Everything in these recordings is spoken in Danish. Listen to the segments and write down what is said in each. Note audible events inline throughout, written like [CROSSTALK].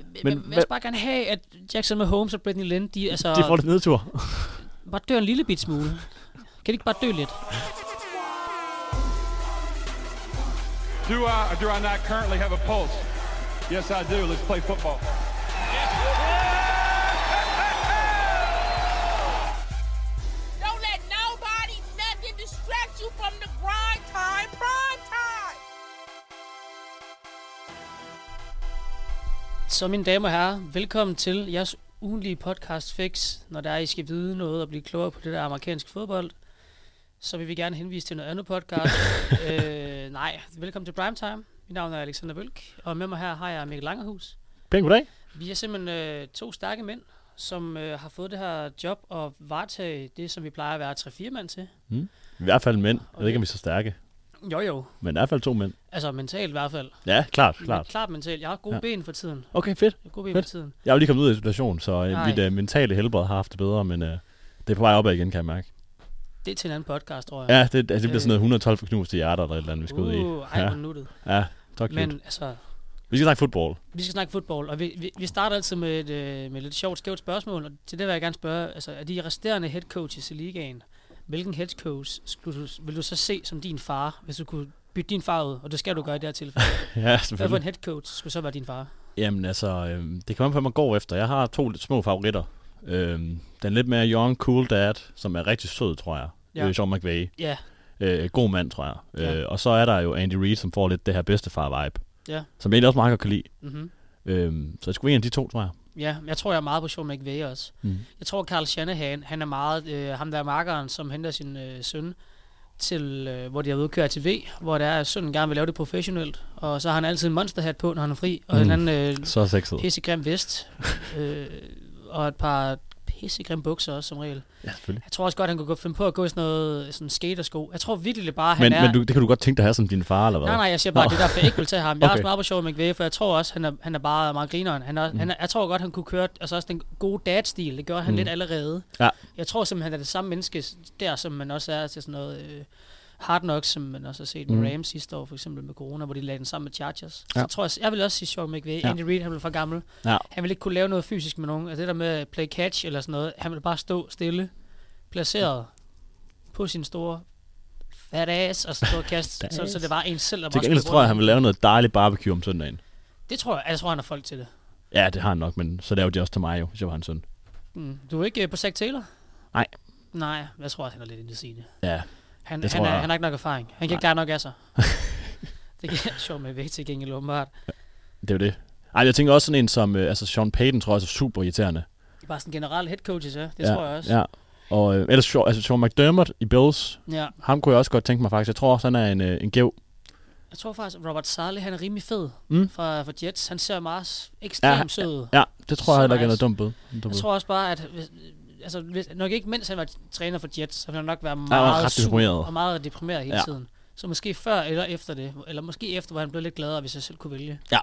Men men, jeg vil hvad- også bare gerne have, at Jackson Mahomes og Brittany Lynn, de, altså, De får lidt nedtur. bare dør en lille bit smule. Kan de ikke bare dø lidt? Do I or do I not currently have a pulse? Yes, I do. Let's play football. Don't let nobody, nothing distract you from the grind time, prime time. Så mine damer og herrer, velkommen til jeres ugenlige podcast Fix. Når der er, I skal vide noget og blive klogere på det der amerikanske fodbold, så vil vi gerne henvise til noget andet [LAUGHS] podcast. øh, nej, velkommen til Primetime. Mit navn er Alexander Vølk, og med mig her har jeg Mikkel Langerhus. Pæn goddag. Vi er simpelthen øh, to stærke mænd, som øh, har fået det her job at varetage det, som vi plejer at være 3-4 mand til. I hvert fald mænd. Jeg ved ikke, om vi er så stærke. Jo jo, Men i hvert fald to mænd. altså mentalt i hvert fald. Ja, klart, Men klart. klart mentalt. Jeg har gode Ja. ja. ben for tiden. Jeg Okay, fedt. har gode ben Fedt. for tiden. Jeg er jo lige kommet ud af isolation, så øh, Nej. mit øh, mentale helbred har haft det bedre, men øh, det er på vej opad igen, kan jeg mærke. Det er til en anden podcast, tror jeg. Ja, det, altså, det bliver Øh. sådan noget 112 knuste hjerter eller et eller andet, vi skal ud i. Uh, ej, Ja. hvor nuttet. Ja, tak Men Men... altså, Vi skal snakke fodbold. vi skal snakke fodbold, og vi, vi, vi starter altid med et, øh, med et lidt sjovt, skævt spørgsmål, og til det vil jeg gerne spørge, altså, er de resterende head coaches i ligaen, hvilken head coach skulle du, vil du så se som din far, hvis du kunne bytte din far ud, og det skal du gøre i det her tilfælde. Ja, Hvad for en selvfølgelig. head coach skulle så være din far? Jamen altså, øh, det kommer an på, hvad man går efter. Jeg har to lidt små favoritter. Øh, den lidt mere young, cool dad, som er rigtig sød, tror jeg. Ja. Ja. Øh, Sean McVay. Ja, Øh, god mand, tror jeg. Ja. Øh, og så er der jo Andy Reid, som får lidt det her bedstefar-vibe. Ja. Som jeg egentlig også meget godt kan lide. mhm. Øhm, så det skulle være en af de to, tror jeg. Ja, jeg tror, jeg er meget på Sean McVay også. Mhm. Jeg tror, Carl Shanahan, han er meget øh, ham, der er markeren, som henter sin øh, søn til, øh, hvor de har været ude at køre ATV, hvor der er, at sønnen gerne vil lave det professionelt, og så har han altid en monsterhat på, når han er fri, og mm. en Mhm. anden øh, Så sexet. pissegrim [LAUGHS] vest, øh, og et par pissegrim bukser også som regel. Ja, selvfølgelig. Jeg tror også godt, han kunne gå- finde på at gå i sådan noget sådan skatersko. Jeg tror virkelig det bare, han Men, er... men du, det kan du godt tænke dig at have som din far, eller hvad? Nej, nej, jeg siger bare, Nå. det er derfor, jeg ikke vil tage ham. Jeg okay. er Okay. også meget på sjov med McVay, for jeg tror også, han er, han er bare meget grineren. Han er, mm. han er, jeg tror godt, han kunne køre altså også den gode dad-stil. Det gør han mm. lidt allerede. Ja. Jeg tror simpelthen, han er det samme menneske der, som man også er til sådan noget... Øh, Hard Knocks, som man også har set med mm. Rams sidste år, for eksempel med Corona, hvor de lagde den sammen med Chargers. Ja. Ja. Så tror jeg, jeg vil også sige Sean McVay. Ja. Ja. Andy Reid, han blev for gammel. Ja. Han ville ikke kunne lave noget fysisk med nogen. Altså det der med at play catch eller sådan noget, han ville bare stå stille, placeret på sin store fat ass, og så [LAUGHS] stå og kaste, så, så, det var en selv, der Til bare gengæld skulle tror jeg, han rundt. vil lave noget dejligt barbecue om søndagen. Det tror jeg, jeg tror, han har folk til det. Ja, det har han nok, men så laver de også til mig jo, hvis jeg var hans søn. Mm. Du er ikke øh, på Zach Taylor? Nej. Nej, jeg tror også, han er lidt inde i sine. Ja, Han, Det han, tror er, jeg. han har ikke nok erfaring. Han kan ikke klare nok af [LAUGHS] sig. det kan [LAUGHS] sjovt med vægt til gengæld, åbenbart. det er jo det. Ej, jeg tænker også sådan en som, øh, altså Sean Payton tror jeg også er super irriterende. Bare sådan generelt head coaches, ja. Det ja, tror jeg også. Ja. Og øh, ellers Sean, altså Sean McDermott i Bills, ja. ham kunne jeg også godt tænke mig faktisk. Jeg tror også, han er en, øh, en gæv. Jeg tror faktisk, Robert Saleh, han er rimelig fed mm. Mm. fra, fra Jets. Han ser meget s- Ja, ekstremt han- sød ud. Ja, det tror Så jeg heller ikke er noget nice. dumt bud. Dumt Jeg bud. tror også bare, at hvis, altså, hvis, nok ikke mens han var træner for Jets, så ville han nok være han var meget ret sur deprimeret. og meget deprimeret hele ja. Ja. tiden. Så måske før eller efter det, eller måske efter, hvor han blev lidt gladere, hvis jeg selv kunne vælge. Ja.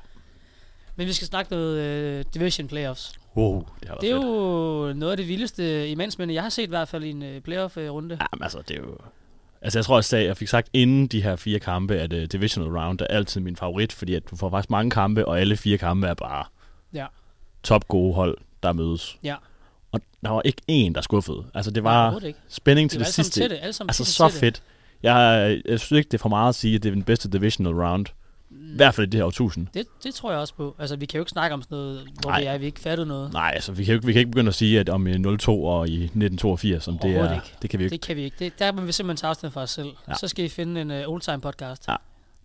Men vi skal snakke noget øh, division playoffs. Wow, det har været Det er fedt. jo noget af det vildeste imensmændene, jeg har set i hvert fald i en øh, playoff-runde. Jamen, altså, det er jo... Altså, jeg tror også, at jeg fik sagt inden de her fire kampe, at uh, Divisional Round er altid min favorit, fordi at du får faktisk mange kampe, og alle fire kampe er bare Ja. top gode hold, der mødes. Ja. Og der var ikke én, der skuffede. Altså, det Nej, var overhovedet ikke. Det spænding til var det, alle sammen sidste. til det. Alle sammen altså, til så det. fedt. Jeg, jeg synes ikke, det er for meget at sige, at det er den bedste Divisional Round. I hvert fald i det her årtusind. Det, det tror jeg også på. Altså, vi kan jo ikke snakke om sådan noget, hvor Nej. det er, vi ikke fattede noget. Nej, altså, vi kan, jo ikke, vi kan ikke begynde at sige, at om øh, 02 og i 1982, om det Overhovedet er... ikke. Det kan vi ikke. Det kan vi ikke. Det, der må vi simpelthen tage afstand for os selv. Ja. Ja. Så skal I finde en uh, oldtime podcast. Ja. Ja.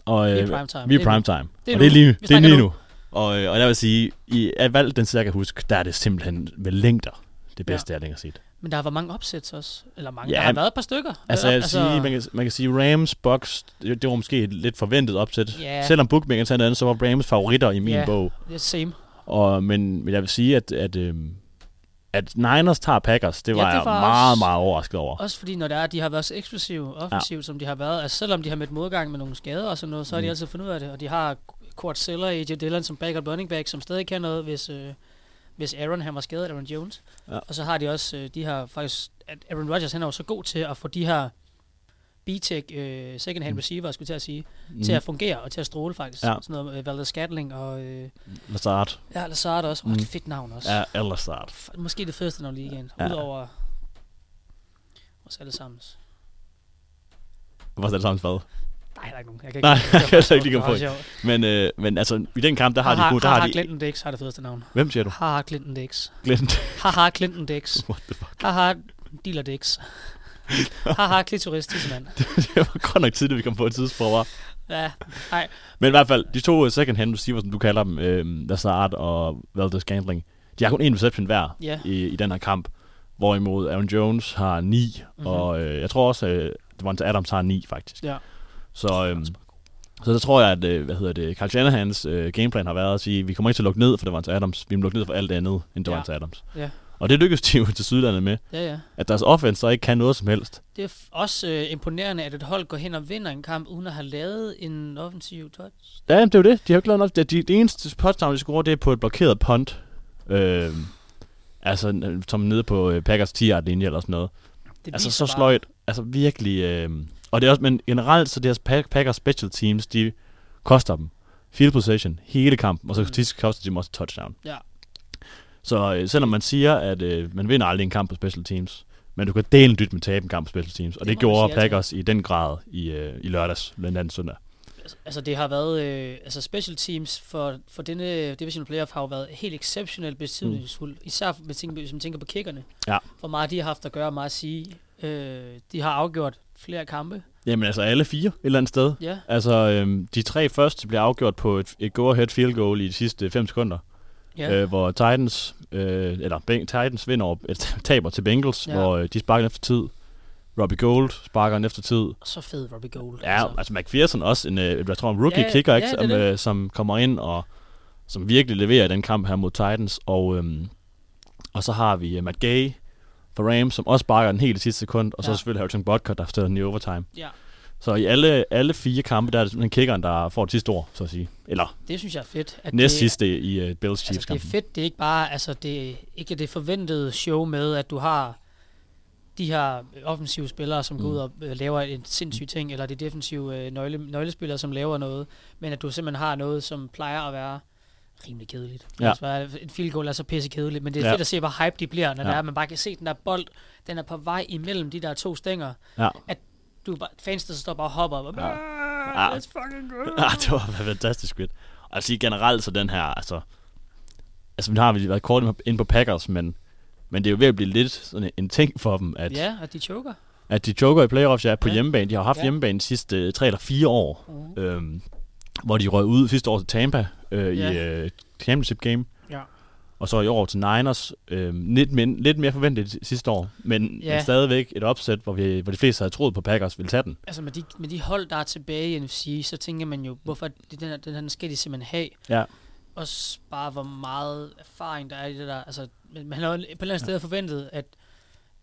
Og, Vi er øh, primetime. Det Vi er er nu. primetime. Det er og nu. det er lige nu. Vi Det er snakker lige nu. nu. Og, øh, og jeg vil sige, i at valg, den side, jeg kan huske, der er det simpelthen ved længder det bedste, jeg længere har set. Men der var mange opsæt også. Eller mange. Ja, Ja, der har men- været et par stykker. Altså, Eller- jeg vil sige, man, kan, man kan sige, Rams, Bucks, det, det var måske et lidt forventet opsæt. Ja. Selvom bookmakeren sagde noget andet, så var Rams favoritter i min Ja. bog. det er same. Og, men, men jeg vil sige, at, at, øh, at Niners tager Packers, det Ja, var, det jeg var meget, også- meget overrasket over. Også fordi, når der er, de har været så eksplosive offensivt, ja. som de har været. Altså, selvom de har mødt modgang med nogle skader og sådan noget, Mm. så har de altid fundet ud af det. Og de har Kurt Zeller og AJ Dillon som backup running back, som stadig kan noget, hvis, øh, hvis Aaron han var skadet, Aaron Jones. Ja. Ja. Og så har de også, øh, de har faktisk, at Aaron Rodgers han er jo så god til at få de her B-Tech øh, second hand receiver, skulle jeg til at sige, Mm. mm. til at fungere og til at stråle faktisk. Ja. Ja. Sådan noget med Valder Scatling og øh, Mm, Lazard. ja, Lazard også. Åh, Mm. mm. fedt navn også. Ja, eller Lazard. F- Måske det fedeste navn lige igen. Ja. Ja. Udover os alle sammen. Hvor er det samme hvad? Nej, der er ikke nogen. Jeg kan ikke, Nej, det var [LAUGHS] bare jeg kan ikke lige sjovt. komme på Det var bare sjovt. Men, øh, men altså, i den kamp, der har, Haha, de... gode- Der har, de Clinton Dix har det fedeste navn. hvem siger du? Haha, Clinton Dix. Glemt. Haha, Clinton Dix. [LAUGHS] What the fuck? Haha, dealer [LAUGHS] Dix. Haha, klitoris tissemand. det var godt nok tidligt, vi kom på et tidspunkt, var. Ja, nej. Men i hvert fald, de to øh, second hand receiver, som du kalder dem, øh, Lazard og Valdez Gambling, de har kun én reception hver Ja. i, i den her kamp. Hvorimod Aaron Jones har ni, mm-hmm. og øh, jeg tror også, øh, Devonta Adams har ni, faktisk. Ja. Så, øhm, så der tror jeg, at øh, hvad hedder det, Carl Shanahans øh, gameplan har været at sige, vi kommer ikke til at lukke ned for Devonta Adams, vi må lukke ned for alt andet end Devonta ja. Adams. Ja. Og det lykkedes de jo [LAUGHS] til sydlandet med, Ja, ja. at deres offense så ikke kan noget som helst. Det er f- også øh, imponerende, at et hold går hen og vinder en kamp, uden at have lavet en offensiv touch. Ja, jamen, det er jo det. De har jo ikke lavet noget. Det, de, det eneste touchdown, de scorer, det er på et blokeret punt. Øh, altså, n- som nede på øh, Packers 10 yard linje eller sådan noget. Det altså, så viser bare- sløjt. Altså, virkelig. Øh, og det er også, men generelt, så deres Pack- Packers special teams, de koster dem. Field possession, hele kampen, og så til sidst koster de dem også et touchdown. Mm. Ja, Så øh, selvom man siger, at øh, man vinder aldrig en kamp på special teams, men du kan dele dyt med tabe en kamp på special teams, Det og det, må det man gjorde sige, altså. Packers i den grad i, øh, i lørdags, blandt andet søndag. altså det har været, øh, altså special teams for, for denne division playoff har jo været helt exceptionelt betydningsfuld, mm. især med tænker, hvis man tænker på kickerne. Ja. Hvor meget de har haft at gøre, og meget at sige. Øh, de har afgjort flere kampe. Jamen altså alle fire et eller andet sted. Ja. Altså øhm, de tre første bliver afgjort på et, et go-ahead field goal i de sidste 5 sekunder, Ja. ja. øh, hvor Titans, øh, eller ben, Titans vinder over, et, [LAUGHS] taber til Bengals, ja. Ja. hvor øh, de sparker den efter tid. Robbie Gold sparker den efter tid. Så fed Robbie Gold. Ja, altså, altså McPherson også, en, øh, jeg tror en rookie Ja, ja. kicker, Ja, ikke, det er som, det. øh, som kommer ind og som virkelig leverer i den kamp her mod Titans. Og, øhm, og så har vi øh, Matt Gay for Rams, som også sparker den helt i sidste sekund, og ja. så Ja. selvfølgelig Harrison Butker, der stiller den i overtime. Ja, Så i alle, alle fire kampe, der er det simpelthen kickeren, der får det sidste ord, så at sige. Eller det synes jeg er fedt. At næst det, sidste i uh, Bills Chiefs altså, det er kampen. fedt, det er ikke bare altså, det er ikke det forventede show med, at du har de her offensive spillere, som går Mm. ud og øh, laver en sindssyg ting, eller de defensive øh, nøgle, nøglespillere, som laver noget, men at du simpelthen har noget, som plejer at være rimelig kedeligt. Ja. Altså, hvad- Et field goal er så pisse kedeligt, men det er Ja. ja. fedt at se, hvor hype de bliver, når Ja. ja. det er, at man bare kan se, at den der bold, den er på vej imellem de der to stænger, Ja. [LAUGHS] at du er bare, fans, der står bare og hopper op. Ja. Ja. Ah, ah, det var fantastisk fedt. Og jeg sige generelt så den her, altså... Altså, nu har vi været kort ind på Packers, men, men det er jo ved at blive lidt sådan en ting for dem, at, ja, og de choker. at de joker i playoffs ja, på Ja. hjemmebane. De har haft Ja. Mhm. hjemmebane de sidste øh, tre eller fire år, mm. øhm, hvor de røg ud sidste år til Tampa øh, i Ja. øh, championship game. Ja. Og så i år til Niners. Øh, lidt, men, lidt mere forventet sidste år, men, ja. Ja. men stadigvæk et opsæt, hvor, vi, hvor de fleste havde troet på Packers ville tage den. Altså med de, med de hold, der er tilbage i NFC, så tænker man jo, hvorfor er det, den, her, den her den skal de simpelthen have. Ja, Også bare, hvor meget erfaring der er i det der. Altså, men man har jo på et eller andet sted forventet, at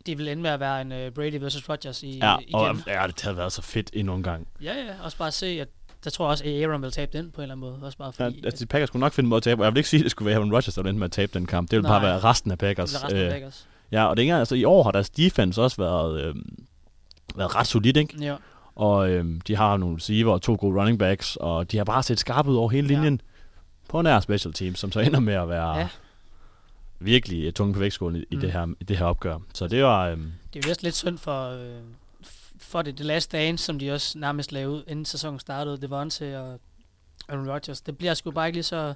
det ville ende med at være en uh, Brady versus Rodgers i, ja igen. og ja, det havde været så fedt endnu en gang. Ja, ja. Også bare at se, at der tror jeg også, at Aaron vil tabe den på en eller anden måde. Også bare Ja, fordi, altså, de Packers skulle nok finde en måde at tabe, og jeg vil ikke sige, at det skulle være Aaron Rodgers, der endte med at tabe den kamp. Det ville bare Nej. være resten af Packers. det resten af øh, Packers. Ja, og det er ikke engang- altså, i år har deres defense også været, øh, været ret solid, ikke? Ja. Og øhm, de har nogle receiver og to gode running backs, og de har bare set skarpe ud over hele Ja. linjen på nær special teams, som så ender med at være ja. Ja. virkelig øh, tunge på vægtskålen i, mm. Mm. det her, i det her opgør. Så det var... Øhm, Det er jo næsten lidt synd for, øh, f- for det. The Last Dance, som de også nærmest lavede ud, inden sæsonen startede, Devontae og Aaron Rodgers. Det bliver sgu bare ikke lige så,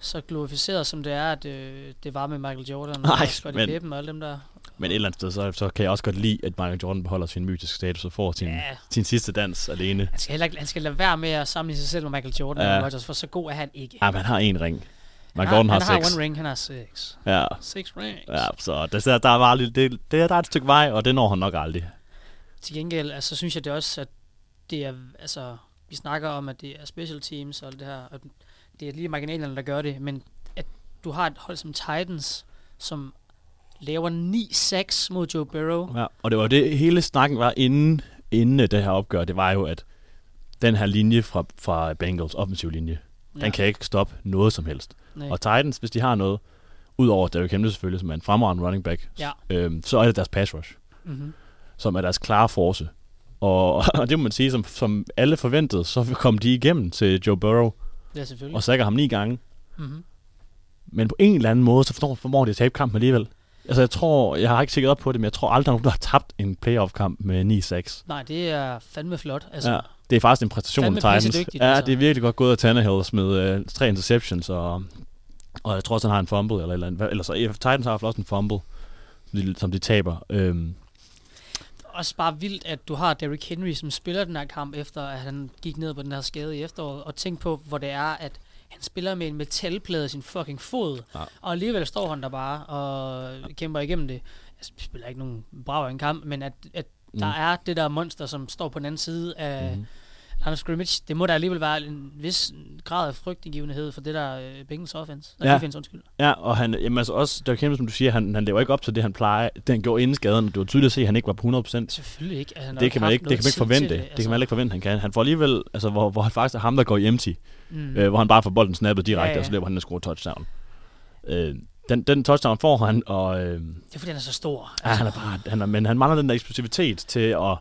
så glorificeret, som det er, at øh, det var med Michael Jordan Nej, og Scottie men- Pippen og alle dem der. men et eller andet sted, så, så kan jeg også godt lide, at Michael Jordan beholder sin mytiske status og får sin, Ja. sin sidste dans alene. Han skal, heller, ikke- han skal lade være med at sammenligne sig selv med Michael Jordan Ja. ja. og Aaron Rodgers, for så god er han ikke. Ja, men han har en ring. Michael han Jordan har, har, han har seks. one ring, han har six. Ja, Six rings. ja, så der, der, der, er bare lidt, det, der, der er et stykke vej, og det når han nok aldrig. Til gengæld, altså, så synes jeg det også, at det er, altså, vi snakker om, at det er special teams og alt det her, og det er lige marginalerne, der gør det, men at du har et hold som Titans, som laver 9-6 mod Joe Burrow. Ja, og det var det, hele snakken var inden, inden øh, det her opgør, det var jo, at den her linje fra, fra Bengals, offensiv linje, ja. den Ja. kan ikke stoppe noget som helst. Nej. Og Titans, hvis de har noget, udover Derrick Henry selvfølgelig, som er en fremragende running back, Ja. øhm, så er det deres pass rush, Mm-hmm. som er deres klare force. Og, [LAUGHS] og det må man sige, som, som alle forventede, så kom de igennem til Joe Burrow Ja, selvfølgelig. og sækker ham ni gange. Mm-hmm. Men på en eller anden måde, så formår, formår de at tabe kampen alligevel. Altså jeg tror, jeg har ikke tjekket op på det, men jeg tror aldrig, at nogen har tabt en playoff-kamp med 9-6. Nej, det er fandme flot. Altså, Altså, ja. ja, det er faktisk en præstation, Fandme Titans. pissedygtigt, ja, altså. det er virkelig godt gået af Tannehill med øh, tre interceptions, og, og jeg tror også, han har en fumble, eller, et eller, andet. eller så ja, Titans har haft også en fumble, som de, som de taber. Øhm, Også bare vildt, at du har Derrick Henry, som spiller den her kamp, efter at han gik ned på den her skade i efteråret, og tænk på, hvor det er, at han spiller med en metalplade i sin fucking fod, Ja. ja. og alligevel står han der bare og kæmper igennem det. Jeg spiller ikke nogen brav en kamp, men at, at der Mm. er det der monster, som står på den anden side af Mhm. mm. Line of scrimmage. Det må der alligevel være en vis grad af frygtindgivenhed for det der øh, Bengals offense. Ja. Ja. Defense, undskyld. ja, og han, jamen altså også, Derrick Henry, som du siger, han, han lever ikke op til det, han plejer. Det, han gjorde inden skaden, og det var tydeligt at se, at han ikke var på 100%. Selvfølgelig ikke. at han har det kan man haft ikke, det noget kan man ikke tid til forvente. Det, altså. det kan man heller ikke forvente, han kan. Han får alligevel, altså, hvor, hvor han faktisk er ham, der går i empty. Mm. Mm. Øh, hvor han bare får bolden snappet direkte, ja, Ja, ja. ja. og så løber han og scorer touchdown. Øh, den, den touchdown får han, og øh, Det er fordi, han er så stor. Altså, ja, han er bare, han er, men han mangler den der eksplosivitet til at,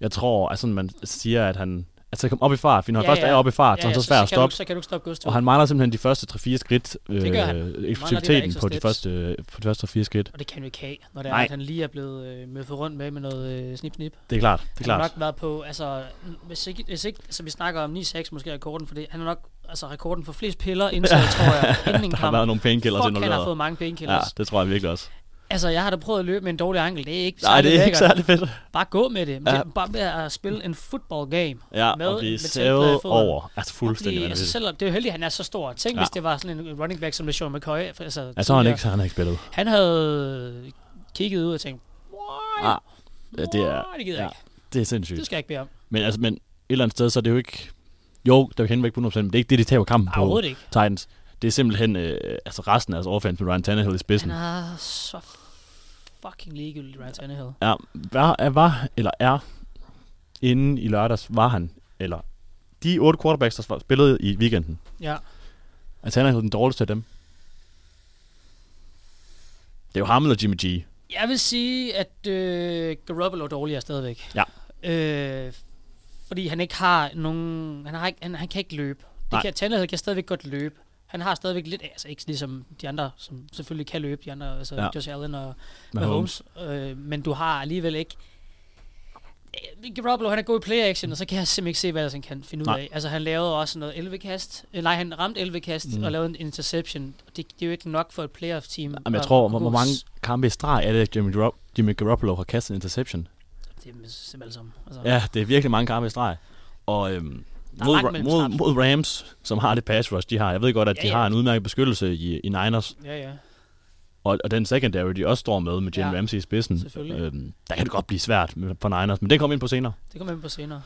jeg tror, altså man siger, at han, altså at komme op i fart, fordi når han Ja, først ja. er op i fart, så er han så svær at kan du, stoppe. så kan du ikke stoppe Gustav. Og han mangler simpelthen de første 3-4 skridt, Det gør han. Han øh, mangler de der eksplosiviteten extra på de, steps. første, øh, på de første 3-4 skridt. og det kan du ikke have, når det er, Nej. at han lige er blevet øh, møffet rundt med med noget øh, snip-snip. Det Det er klart, det er han har klart. nok været på, altså, hvis ikke, hvis ikke så vi snakker om 9-6 måske er rekorden for det, han er nok altså, rekorden for flest piller [LAUGHS] indsat, tror jeg, inden en Der har kamp. været nogle Fuck, painkillers han har fået involveret. mange painkillers. Ja, Ja. det tror jeg virkelig også. Altså, jeg har da prøvet at løbe med en dårlig ankel. Det er ikke Nej, særlig det er ikke lækkert. særlig fedt. Bare gå med det. Ja. Ja. Bare med at spille en football game. Ja, med og blive med sævet tætplade foden. over. Altså Og fuldstændig blive- altså, vanvittigt. selvom, det er jo heldigt, at han er så stor. Tænk, Ja. ja. hvis det var sådan en running back som LeSean McCoy. Altså, Ja, så har han tidligere. ikke, så har han ikke spillet. Han havde kigget ud og tænkt, What? Ah, ja, det er, What? Det gider jeg ikke. ja, det er Det sindssygt. skal jeg ikke bede om. Men, altså, men et eller andet sted, så er det jo ikke... Jo, der er Henrik på 100%, men det er ikke det, de taber kampen Ah, på Overhovedet ikke. Titans. Det er simpelthen øh, altså resten af deres offense med Ryan Tannehill i Han spidsen. er så fucking ligegyldig, Ryan Tannehill. Ja, var, er, var, eller er, inden i lørdags, var han, eller de otte quarterbacks, der spillede i weekenden, Ja. er Tannehill den dårligste af dem? Det er jo ham eller Jimmy G. Jeg vil sige, at øh, Garoppolo er dårligere stadigvæk. Ja. Øh, fordi han ikke har nogen... Han, har ikke, han, han kan ikke løbe. Nej. Det kan, Tannehill kan stadigvæk godt løbe. Han har stadigvæk lidt... Altså ikke ligesom de andre, som selvfølgelig kan løbe. De andre, altså Ja. ja. Josh Allen og Mahomes. Mahomes. Mahomes. Øh, men du har alligevel ikke... Øh, Garoppolo, han er god i play action, og så kan jeg simpelthen ikke se, hvad ellers han kan finde Nej. ud af. Altså, han lavede også noget 11-kast. Øh, nej, han ramte 11-kast Mm. mm. og lavede en interception. Det, det er jo ikke nok for et playoff-team. Jamen, jeg at tror, kunne hvor, hvor gå mange kampe i streg er det, at Jimmy, Garopp- Jimmy Garoppolo har kastet en interception? Det er simpelthen alle sammen. Altså, Ja, det er virkelig mange kampe i streg. Og øhm, Der er mod, langt Ra- mellem mod, snaps. mod Rams, som har det pass rush, de har. Jeg ved godt, at Ja, de ja. har en udmærket beskyttelse i, i Niners. ja. ja. Og, og den secondary, de også står med med Jim Ja, Ramsey i spidsen. øhm, selvfølgelig. der kan det godt blive svært med- for Niners, men det kommer ind på senere. Det kommer vi ind på senere.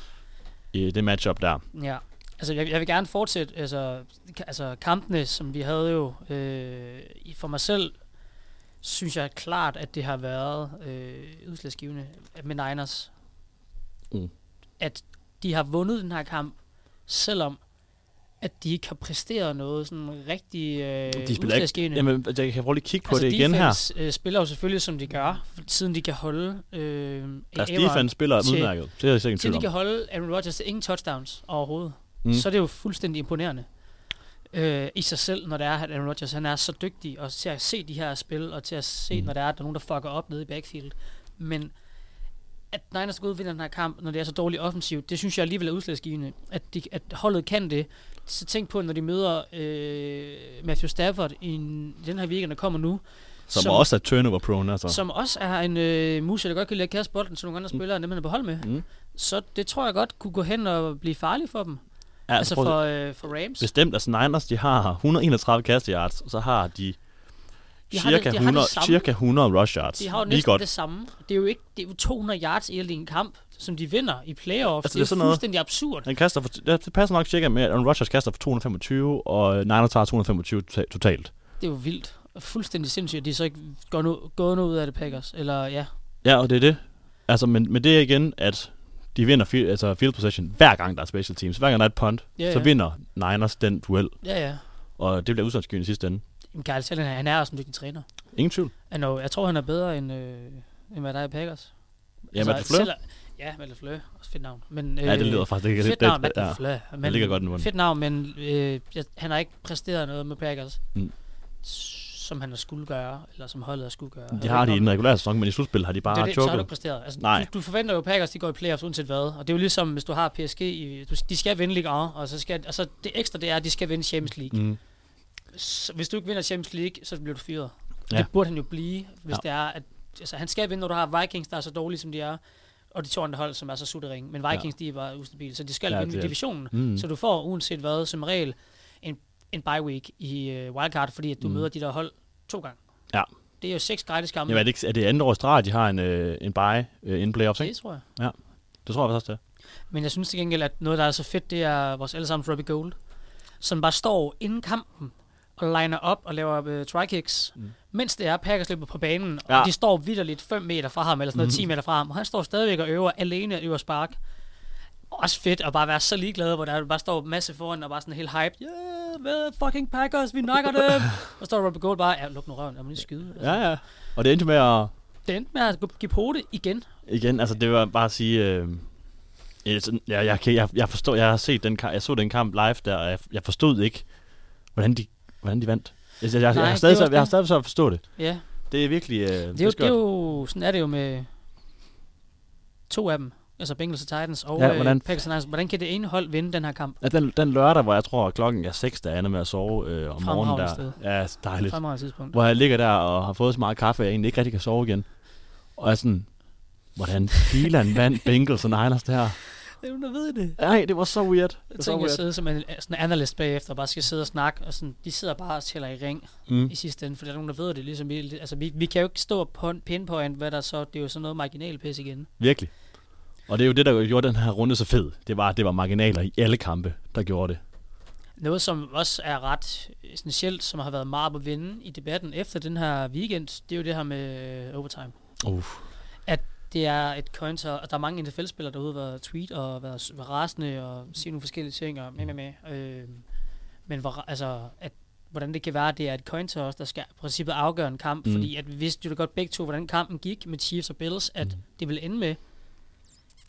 I det matchup der. Ja. Altså, jeg, jeg vil gerne fortsætte. Altså, ka- altså kampene, som vi havde jo øh, i- for mig selv, synes jeg klart, at det har været øh, udslagsgivende med Niners. Mm. At de har vundet den her kamp, selvom at de ikke har præsteret noget sådan rigtig øh, De spiller ikke. udslagsgivende. Jamen, jeg kan prøve lige at kigge på altså, det igen her. defense, øh, spiller jo selvfølgelig, som de gør, siden de kan holde øh, en Deres Aaron. defense spiller til- udmærket. Det er jeg sikkert Til de tvivl kan om. holde Aaron Rodgers til ingen touchdowns overhovedet, Mm. mm. så er det jo fuldstændig imponerende øh, i sig selv, når det er, at Aaron Rodgers han er så dygtig og til at se de her spil, og til at se, Mm. mm. når der er, at der er nogen, der fucker op nede i backfield. Men at Niners går ud og vinder den her kamp, når det er så dårligt offensivt, det synes jeg alligevel er udslagsgivende. At, de, at holdet kan det. Så tænk på, når de møder øh, Matthew Stafford i en, den her weekend, der kommer nu, Som, som- også er turnover prone, altså. som også er en øh, muser, der godt kan lide at kaste bolden til nogle andre spillere, end dem han er på hold med. Mm. Så det tror jeg godt kunne gå hen og blive farligt for dem. ja, Altså prøv- for, øh, for Rams. bestemt, altså Niners, de har 131 kast yards, og så har de, De har cirka, det- de har det 100, samme. cirka 100 rush yards. De har jo Lige næsten godt. det samme. Det er jo ikke det er jo 200 yards i en kamp, som de vinder i playoff. Altså, Altså, det er det, det sådan er noget- jo fuldstændig absurd. Han kaster for, ja, det passer nok cirka med, at Aaron Rodgers kaster for 225, og øh, Niners tager 225 tota- totalt. Det er jo vildt. Og fuldstændig sindssygt, at de så ikke går nu, går nu ud af det, Packers. Eller ja, Ja, og det er det. Altså, men, men det er igen, at de vinder fi, altså field possession hver gang, der er special teams. Hver gang der er et punt, Ja, så ja. vinder Niners den duel, ja, ja. og det bliver udsatsgivende i sidste ende. Men Kyle Shanahan, han er også en dygtig træner. Ingen tvivl. Jeg, know, jeg tror, han er bedre end, øh, end hvad der er i Packers. Ja, altså, Matt Fleur, selv- Ja, Malte Fleur. Også fedt navn. Men, øh, Ja, det lyder faktisk ikke Fedt navn, Malte Fleur. Men, ligger godt i munden. Fedt navn, men øh, jeg, han har ikke præsteret noget med Packers, Mm. mm. som han skulle gøre, eller som holdet skulle gøre. Det har de i den regulære sæson, men i slutspillet har de det, er bare det, så har du ikke choket. præsteret. Altså, Nej. Du, du, forventer jo, at Packers de går i playoffs uanset hvad. Og det er jo ligesom, hvis du har PSG, i, du, de skal vinde Ligue 1, og så skal, altså, det ekstra det er, at de skal vinde Champions League. Mm. Så, hvis du ikke vinder Champions League, så bliver du fyret. Ja. Ja. Det burde han jo blive, hvis Ja. ja. det er, at altså, han skal vinde, når du har Vikings, der er så dårlige, som de er, og de to andre hold, som er så suttering. Men Vikings, ja. de var ustabile, så de skal Ja, ja, vinde det er- divisionen. Mm. Mm. Så du får uanset hvad, som regel, en, en bye week i øh, wildcard, fordi at du Mm. mm. møder de der hold to gange. Ja. Det er jo seks gratis kampe. Jamen, er det, ikke, er det andet års drag, de har en, øh, en bye øh, inden playoffs, det ikke? tror jeg. Det tror jeg faktisk også, det er. Men jeg synes til gengæld, at noget, der er så fedt, det er vores allesammens Robbie Gold, som bare står inden kampen og liner op og laver øh, try-kicks, mm. mens det er Packers løber på banen, ja. Ja. og de står vidderligt 5 meter fra ham, eller sådan noget, 10 meter fra ham, og han står stadigvæk og øver alene og øver spark. Også fedt at bare være så ligeglad, hvor der bare står en masse foran og bare sådan helt hype. Yeah, hvad fucking Packers, vi nakker dem. og står Robbie Gold bare, ja, luk nu røven, jeg må lige skyde. Altså, Ja, ja. Og det endte med at... Det endte med at give på det igen. Igen, altså det var bare at sige... Øh, ja, sådan- ja, jeg, kan- jeg, jeg, forstår, jeg har set den kamp, jeg så den kamp live der, og jeg, jeg forstod ikke, hvordan de, hvordan de vandt. Altså, Jeg, jeg, jeg, Nej, jeg, har det stadig, er også så- jeg har det. stadig så at forstå det. Ja, Det er virkelig... Øh, Det er, jo, skørt. det er jo, sådan er det jo med to af dem, altså Bengals og Titans og Ja, ja, hvordan- hvordan, Packers og Niners. Hvordan kan det ene hold vinde den her kamp? Ja, den, den lørdag, hvor jeg tror, klokken er 6, der ender med at sove øh, om morgenen Fremragende der. sted. Ja, så dejligt. Fremragende tidspunkt. Hvor jeg ligger der og har fået så meget kaffe, at jeg egentlig ikke rigtig kan sove igen. Og jeg er sådan, hvordan filan vandt Bengals og Niners det her? Det er jo, der ved det. Nej, det var så weird. Det var Jeg så tænker, jeg weird. sidder som en sådan en analyst bagefter og bare skal sidde og snakke, og sådan, de sidder bare og tæller i ring Mm. i sidste ende, for der er nogen, der ved det, ligesom vi, altså vi, vi kan jo ikke stå på en pinpoint, hvad der så, det er jo sådan noget marginalpis igen. Virkelig. Og det er jo det, der gjorde den her runde så fed. Det var, at det var marginaler i alle kampe, der gjorde det. Noget, som også er ret essentielt, som har været meget op at vinde i debatten efter den her weekend, det er jo det her med øh, overtime. Uff. Det er et counter, og der er mange NFL-spillere derude, der har tweet og været, været rasende og siger nogle forskellige ting og med, med, med. Øh, men hvor, altså, at, hvordan det kan være, det er et counter også, der skal i princippet afgøre en kamp, Mm. mm. fordi at vi vidste jo da godt begge to, hvordan kampen gik med Chiefs og Bills, at mm. det ville ende med,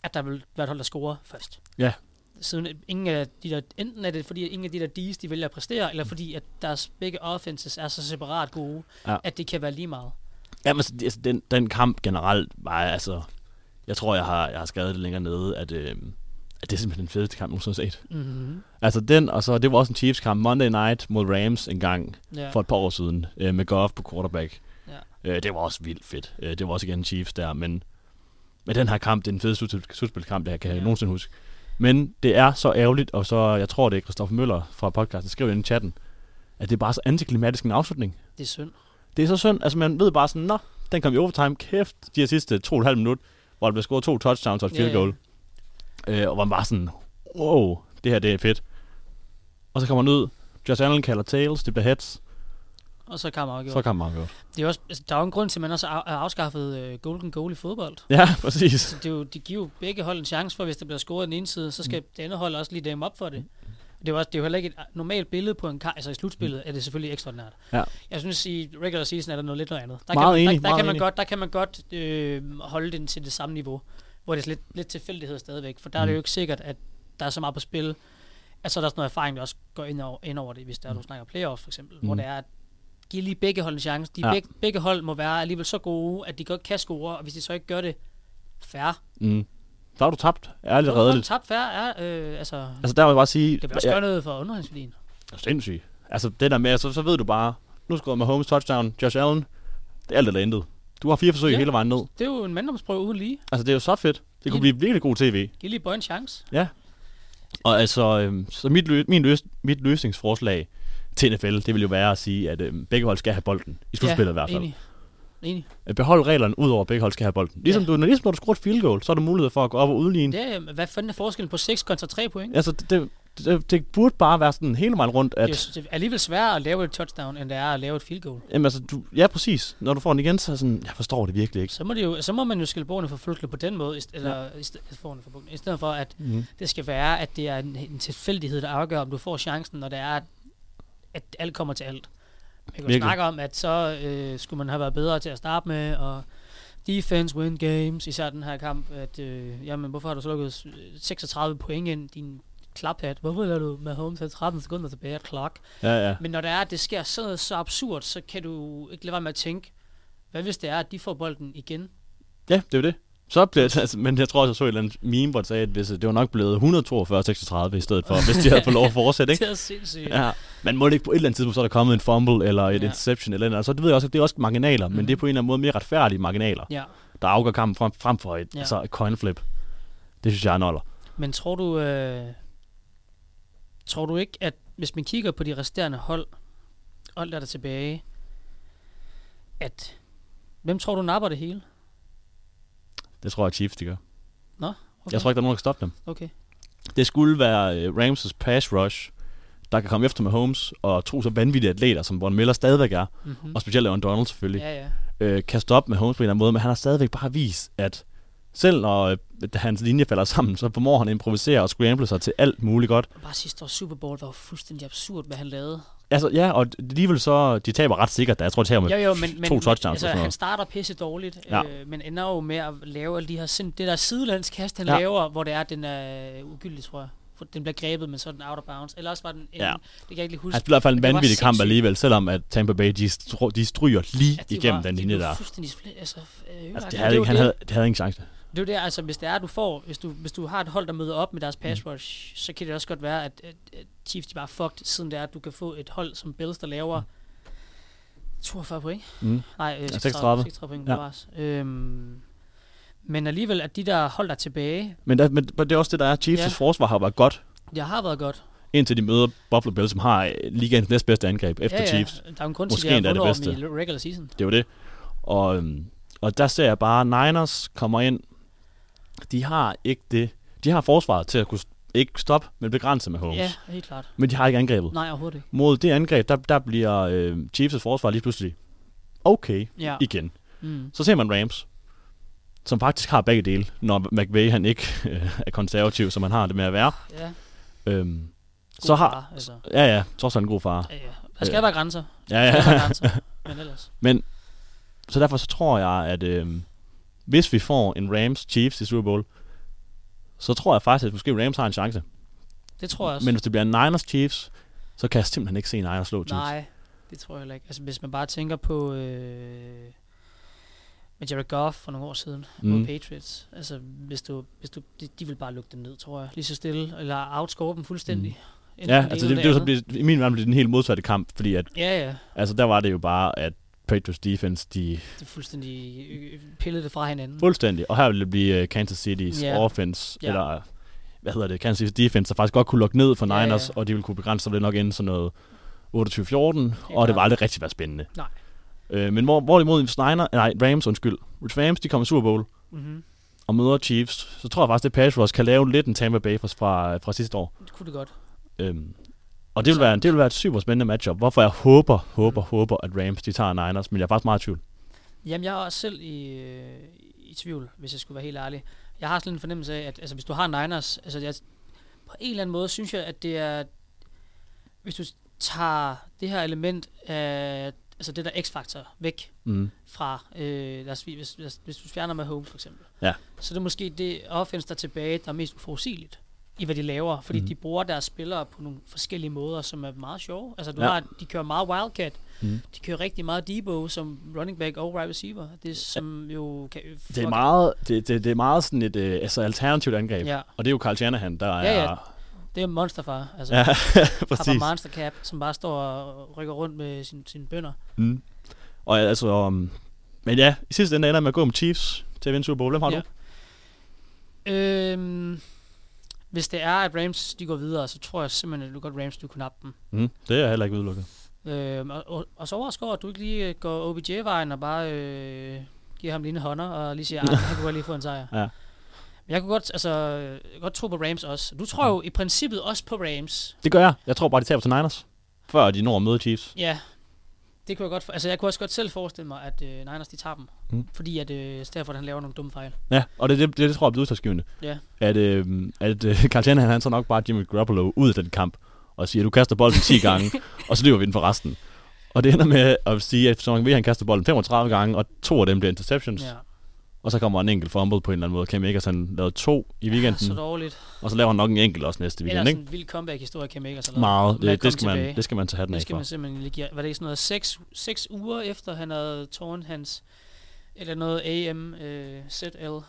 at der ville være et hold, der scorer først. Ja. Siden øh, ingen af de der, enten er det fordi, at ingen af de der D's, de vælger at præstere, Mm. eller fordi, at deres begge offenses er så separat gode, Ja. ja. at det kan være lige meget. Jamen, altså, det- altså, den, den kamp generelt var, altså... Jeg tror, jeg har, jeg har skrevet det længere nede, at, øh, at det er simpelthen den fedeste kamp, jeg nogensinde har set. Mm-hmm. Altså den, og så det var også en Chiefs-kamp Monday Night mod Rams en gang Ja. ja. for et par år siden øh, med Goff på quarterback. Ja. Øh, det var også vildt fedt. Øh, det var også igen Chiefs der, men, men den her kamp, det er den fedeste slutspil- slutspilskamp, jeg kan ja. Ja. nogensinde huske. Men det er så ærgerligt, og så, jeg tror det er Christoffer Møller fra podcasten, skrev ind i chatten, at det er bare så antiklimatisk en afslutning. Det er synd. Det er så synd, altså man ved bare sådan, nå, den kom i overtime, kæft, de her sidste to og et halvt minut, hvor der blev scoret to touchdowns og et Ja, field ja. goal. Øh, og hvor man bare sådan, wow, det her det er fedt. Og så kommer den ud, Josh Allen kalder tails, det bliver heads, Og så kan man så kommer han godt. Det er også, altså, der er jo en grund til, at man også har af- har afskaffet øh, golden goal i fodbold. Ja, præcis. Det er jo, de giver jo begge hold en chance for, hvis der bliver scoret den ene side, så skal mm. det andet hold også lige dæmme op for det. Det er, jo også, det er jo heller ikke et ah, normalt billede på en kamp. Altså i slutspillet er det selvfølgelig ekstraordinært. Ja. Jeg synes, i regular season er der noget lidt noget andet. Der Meget kan man, enig, der, der, meget kan man enig. godt, der kan man godt øh, holde den til det samme niveau, hvor det er lidt, lidt tilfældighed stadigvæk. For der mm. er det jo ikke sikkert, at der er så meget på spil. Altså så er der også noget erfaring, der også går ind over, ind over det, hvis der er, du snakker playoffs for eksempel, mm. hvor Mm. det er, at giv lige begge hold en chance. De Ja. ja. begge, begge hold må være alligevel så gode, at de godt kan score, og hvis de så ikke gør det færre, Mm. Så har du tabt, ærligt Hvorfor en redeligt. tabt færre er, øh, altså, Altså der vil jeg bare sige, det vil også gøre noget for underholdningsværdien. ja, sindssygt. Altså det der med, så, så ved du bare, nu scorede Mahomes touchdown, Josh Allen, det er alt eller intet. Du har fire forsøg Ja. hele vejen ned. Det er jo en manddomsprøve uden lige. Altså det er jo så fedt. Det kunne Enig. blive virkelig god tv. Giv lige Bøj en chance. Ja. Og altså, øhm, så mit, lø- min løs- mit løsningsforslag til NFL, det vil jo være at sige, at øhm, begge hold skal have bolden. I slutspillet ja, i hvert fald. Enig. Enig. Øh, Behold reglerne ud over, at begge hold skal have bolden. Ligesom, Ja. du, når, ligesom når du scorer et field goal, så er der mulighed for at gå op og udligne. Det er, øh, hvad fanden er forskellen på 6 kontra 3 point? Altså, det, det, det, det burde bare være sådan hele vejen rundt, Det at... er jo- det er alligevel sværere at lave et touchdown, end det er at lave et field goal. Jamen, altså, du, ja, præcis. Når du får den igen, så er jeg sådan, jeg forstår det virkelig ikke. Så må, det jo, så må man jo skille borgerne for flugtene på den måde, i st- eller ja. i, st- forerne for bukkene, i stedet for, at Mm. det skal være, at det er en, en tilfældighed, der afgør, om du får chancen, når det er, at, at alt kommer til alt. Man kan jo Virkelig. snakke om, at så øh, skulle man have været bedre til at starte med, og Defense win games, især den her kamp, at øh, jamen, hvorfor har du så lukket 36 point ind, din klaphat? Hvorfor lader du med Holmes have 13 sekunder tilbage clock? Ja, ja. Men når det er, at det sker så, så absurd, så kan du ikke lade være med at tænke, hvad hvis det er, at de får bolden igen? Ja, det er jo det. Så bliver det, altså, men jeg tror også, jeg så et eller andet meme, hvor det sagde, at hvis, øh, det var nok blevet 142-36 i stedet for, hvis de havde fået lov at fortsætte, Det [LAUGHS] ikke? er sindssygt. Ja. Men må det ikke på et eller andet tidspunkt, så er der kommet en fumble eller et Ja. Mhm. ja. interception eller andet. Så det ved jeg også, at det er også marginaler, mm. men det er på en eller anden måde mere retfærdige marginaler, ja. der afgør kampen frem, frem for et, Ja. ja. altså et coin flip. Det synes jeg er noller. Men tror du, øh, tror du ikke, at hvis man kigger på de resterende hold, hold der er der tilbage, at hvem tror du napper det hele? Det tror jeg, Chiefs de gør. Nå, okay. Jeg tror ikke, der er nogen, der kan stoppe dem. okay. Det skulle være øh, Ramses pass rush, der kan komme efter med Holmes, og to så vanvittige atleter, som Von Miller stadigvæk er, Mm-hmm. og specielt Aaron Donald selvfølgelig, Ja, ja. øh, kan stoppe med Holmes på en eller anden måde, men han har stadigvæk bare vist, at selv når øh, hans linje falder sammen, så formår han at improvisere og scramble sig til alt muligt godt. Bare sidste års Super Bowl, der var fuldstændig absurd, hvad han lavede. Altså, ja, og alligevel så, de taber ret sikkert, da jeg tror, de taber Jo, med jo, men, men to touchdowns altså, og sådan han noget. starter pisse dårligt, Ja. øh, men ender jo med at lave alle de her sind... Det der sidelandskast, han ja. Ja. laver, hvor det er, den er ugyldig, tror jeg. For Den bliver grebet, men så er den out of bounds. Eller også var den... Ja. Ja. En, det kan jeg ikke lige huske. Han spiller i hvert fald en Men det var vanvittig kamp sindssygt. alligevel, selvom at Tampa Bay, de, stru- de stryger lige ja, de igennem var- den de linje blev der. Fuldstændig split, altså, øh, Altså, ødelagt. det er havde, jo ikke, han det- havde, det havde ingen chance. Det er jo det, altså hvis det er, du får, hvis du, hvis du har et hold, der møder op med deres pass Mm. rush, så kan det også godt være, at, at, at Chiefs de bare er fucked, siden det er, at du kan få et hold som Bills, der laver 42 point. Mm. Nej, øh, 36, 36. 36 point. Ja. Ja. Øhm, men alligevel, at de der hold, der er tilbage, Men, der, men, men det er også det, der er. Chiefs' Ja. ja. forsvar har været godt, det har været godt. indtil de møder Buffalo Bills, som har øh, ligaens næstbedste angreb efter ja, ja. Chiefs. Der er jo en grund til, Måske at de endda har det vundet over dem bedste. i regular season. Det er jo det. Og, øhm, og der ser jeg bare, Niners kommer ind. De har ikke det. De har forsvaret til at kunne st- ikke stoppe, men begrænse med Holmes. Ja, Ja. helt klart. Men de har ikke angrebet. Nej, overhovedet ikke. Mod det angreb, der, der bliver øh, Chiefs' forsvar lige pludselig okay Ja. igen. Mm. Så ser man Rams, som faktisk har begge dele, når McVay han ikke [LAUGHS] øh, er konservativ, som han har det med at være. ja. Øhm, God så har... far, altså. Ja, ja, trods alt en god far. Ja, ja. Der skal være grænser. [LAUGHS] Ja, Der ja. skal være grænser. Men ellers. Så derfor så tror jeg, at øh, hvis vi får en Rams-Chiefs i Super Bowl, så tror jeg faktisk, at måske Rams har en chance. Det tror jeg også. Men hvis det bliver en Niners-Chiefs, så kan jeg simpelthen ikke se Niners slå Chiefs. Nej, det tror jeg heller ikke. Altså, hvis man bare tænker på øh, med Jared Goff for nogle år siden mm. mod Mm. Patriots. Altså, hvis du, hvis du, de, de vil bare lukke dem ned, tror jeg. Lige så stille, eller outscore dem fuldstændig. Mm. Ja, altså det, det, det, det, det, i min verden blev det den helt modsatte kamp, fordi at, Ja, ja. altså, der var det jo bare, at Patriots defense, de Det er fuldstændig øh, pillede det fra hinanden. fuldstændig, og her ville det blive øh, Kansas City's Ja. yeah. offense, Ja. yeah. eller hvad hedder det, Kansas City's defense, der faktisk godt kunne lukke ned for Ja, ja. Niners, og de ville kunne begrænse sig det nok inden sådan noget 28-14, og klart. det var aldrig rigtig været spændende. Nej. Øh, men hvor, hvorimod hvis Niner, nej, Rams, undskyld, hvis Rams, de kommer i Super Bowl, Mm-hmm. og møder Chiefs, så tror jeg faktisk, at Patriots kan lave lidt en Tampa Bay fra, fra, fra sidste år. Det kunne det godt. Øhm, og det vil, være, det vil være et super spændende matchup, hvorfor jeg håber, Mm. håber, håber, at Rams de tager Niners, men jeg er faktisk meget i tvivl. Jamen, jeg er også selv i, øh, i tvivl, hvis jeg skulle være helt ærlig. Jeg har sådan en fornemmelse af, at altså, hvis du har Niners, altså jeg, på en eller anden måde synes jeg, at det er, hvis du tager det her element af, altså det der x-faktor væk Mm. fra, øh, lad os, sige, hvis, hvis, hvis du fjerner med home for eksempel, Ja. så det er måske det offense, der er tilbage, der er mest uforudsigeligt i hvad de laver, fordi mm. Mhm. de bruger deres spillere på nogle forskellige måder, som er meget sjove. Altså du ja. Ja. har, de kører meget wildcat, Mm. de kører rigtig meget Debo som running back og wide receiver. Det er, som jo kan... Det, er meget, det, det, det er meget sådan et øh, altså alternativt angreb, Ja, og det er jo Carl Shanahan, der Ja, ja. er... det er monsterfar. Altså, ja [LAUGHS] ja, Papa præcis. Monster Cap, som bare står og rykker rundt med sin, sine bønder. Mm. Og altså, um, men ja, i sidste ende ender jeg med at gå med Chiefs til at vinde Super Bowl. Hvem har Ja. du? Øhm, hvis det er, at Rams de går videre, så tror jeg simpelthen, at du godt Rams du kunne nappe dem. Mm. Det er jeg heller ikke udelukket. Øhm, og, og, og så overrasker over, at du ikke lige øh, går OBJ-vejen og bare øh, giver ham lige en hånder og lige [LAUGHS] siger, "Ah, at han kunne godt lige få en sejr. Ja. Men jeg kunne godt, altså, jeg kunne godt tro på Rams også. Du tror jo i princippet også på Rams. Det gør jeg. Jeg tror bare, de taber til Niners, før de når at møde Chiefs. Ja, det kunne jeg godt. For, altså, jeg kunne også godt selv forestille mig, at øh, Niners de tager dem. Mm. Mm. Fordi at øh, Stafford han laver nogle dumme fejl. Ja, og det, det, det, det tror jeg bliver udslagsgivende. Ja. At, øh, at øh, [LAUGHS] Carl Shanahan, han så nok bare Jimmy Garoppolo ud af den kamp, og siger, du kaster bolden [LAUGHS] 10 gange, og så løber vi den for resten. Og det ender med at sige, at så mange ved, han kaster bolden 35 gange, og to af dem bliver interceptions. Ja. Og så kommer en enkelt fumble på en eller anden måde. Cam Akers han lavede to i weekenden, Så ja, dårligt. og så laver han nok en enkelt også næste Ellers Mm. weekend, sådan ikke? en vild comeback-historie, Cam Akers har lavet. Meget. Med at Det, komme det, skal man, tilbage. det skal man tage hatten Det af skal for. man simpelthen lige give. Var det ikke sådan noget, seks, seks uger efter han havde tårnet hans, eller noget AM, øh, ZL?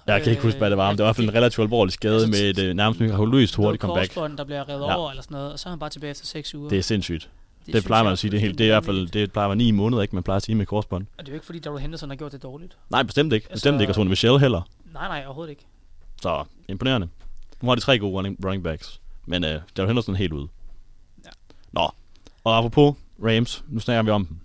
Jeg kan ikke huske, hvad det var, men det var i hvert fald en relativt alvorlig skade Altså, med et øh, nærmest mirakuløst hurtigt comeback. Korsbånd, der bliver revet Ja. ja. over, eller sådan noget, og så er han bare tilbage efter seks uger. Det er sindssygt. Det, synes plejer jeg man at sige, det er, helt, det er i hvert fald, det plejer man ni måneder, ikke? Man plejer at sige med korsbånd. Og det er jo ikke, fordi Daryl Henderson har gjort det dårligt. Nej, bestemt ikke. Bestemt Altså- ikke, og Sonny Michelle heller. Nej, nej, overhovedet ikke. Så imponerende. Nu har de tre gode running, running backs, men øh, Daryl Henderson er helt ude. Ja. Nå, og apropos Rams, nu snakker vi om dem.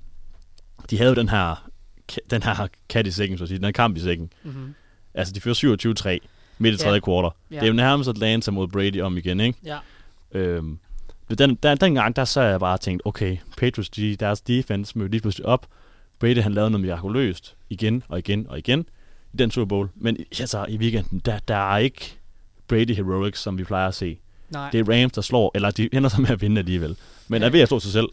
De havde jo den her, ka- den her kat i sækken, så at sige, den her kamp i sækken. Mm-hmm. Altså, de fører 27-3 midt i Ja. tredje kvartal. Ja. Det er jo nærmest Atlanta mod Brady om igen, ikke? Ja, Øhm, men den, den, den gang, der så jeg bare tænkt, okay, Patriots, de, deres defense mødte lige pludselig op. Brady, han lavede noget mirakuløst igen og igen og igen i den Super Bowl. Men i- altså, i weekenden, der, der er ikke Brady Heroics, som vi plejer at se. nej. Det er Rams, der slår, eller de ender så med at vinde alligevel. Men Ja. er ved at slå sig selv.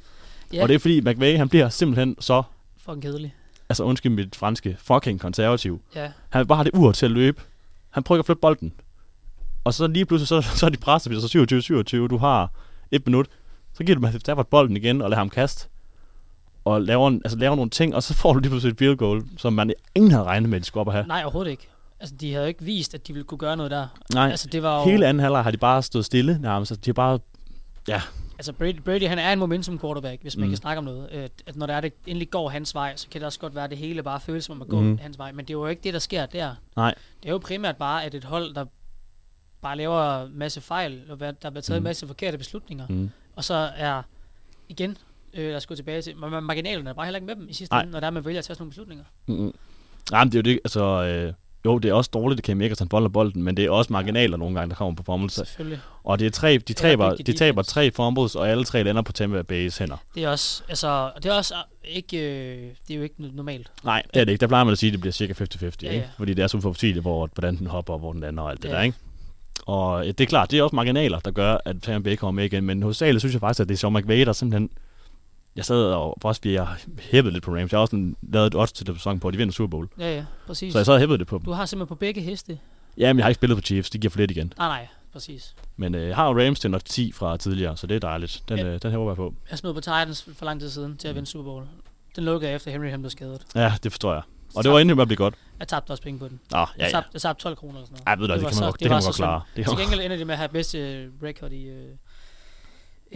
Ja. Og det er fordi, McVay, han bliver simpelthen så, fucking kedeligt. altså undskyld mit franske, fucking konservativ. Ja, Han vil bare have det ur til at løbe. Han prøver ikke at flytte bolden. Og så lige pludselig, så, så er de presset, så 27-27, du har et minut. Så giver du Matthew Stafford bolden igen, og lader ham kaste. Og laver, en- altså, laver nogle ting, og så får du lige pludselig et field goal, som man ingen havde regnet med, at de skulle op og have. nej, overhovedet ikke. Altså, de havde jo ikke vist, at de ville kunne gøre noget der. Nej, altså, det var jo- hele anden halvleg har de bare stået stille nærmest. Altså, de har bare, ja, Altså, Brady, Brady han er en momentum quarterback, hvis man Mm. mm. kan snakke om noget. Øh, At når det, er, det endelig går hans vej, så kan det også godt være, at det hele bare føles som om at gå Mm. mm. hans vej. Men det er jo ikke det, der sker der. nej, Det er jo primært bare, at et hold, der bare laver en masse fejl, og hvad- der bliver taget mm. en masse forkerte beslutninger. Mm. Mm. Og så er, igen, øh, lad os gå tilbage til, men marginalerne er bare heller ikke med dem i sidste Nej. ende, når der er, man vælger at tage sådan nogle beslutninger. Mm-mm. Nej, men det er jo det, altså... Øh, jo, det er også dårligt, at Cam Akers bolder bolden, men det er også marginaler nogle gange, der kommer på formelser. Selvfølgelig. Og det er tre, de, taber, vigtig de taber defense. tre fumbles, og alle tre lander på Tampa Bay's hænder. Det er også, altså, det er også øh, ikke, øh, det er jo ikke normalt. Nej, det er det ikke. Der plejer man at sige, at det bliver cirka 50-50, ja, Ja, ikke? ja. Fordi det er så uforudsigeligt, hvor, hvordan den hopper, og hvor den lander og alt det Ja. der, ikke? Og ja, det er klart, det er også marginaler, der gør, at Tampa Bay kommer med igen. Men hos Sale synes jeg faktisk, at det er Sean McVay, der simpelthen... Jeg sad og også, fordi jeg hæppede lidt på Rams. Jeg har også sådan lavet et odds til den sæson på, at de vinder Super Bowl. Ja, ja, præcis. Så jeg sad og hæppede det på dem. Du har simpelthen på begge heste. Jamen, jeg har ikke spillet på Chiefs. De giver for lidt igen. Nej, nej, præcis. Men øh, jeg har jo Rams til nok 10 fra tidligere, så det er dejligt. Den, Ja. øh, den håber jeg på. Jeg smed Altså, på Titans for lang tid siden Mm. til at vinde Super Bowl. Den lukkede jeg efter Henry han blev skadet. Ja, det forstår jeg. Og det var egentlig, at blive godt. Jeg tabte også penge på den. Ah, ja, Jeg, ja. tabte, jeg tabte 12 kroner eller sådan noget. Ej, ved du, hvad, det, var kan man så- godt, det, kan man var godt så synd. klare. [LAUGHS] Det kan Til man... gengæld ender de med at have bedste record i øh,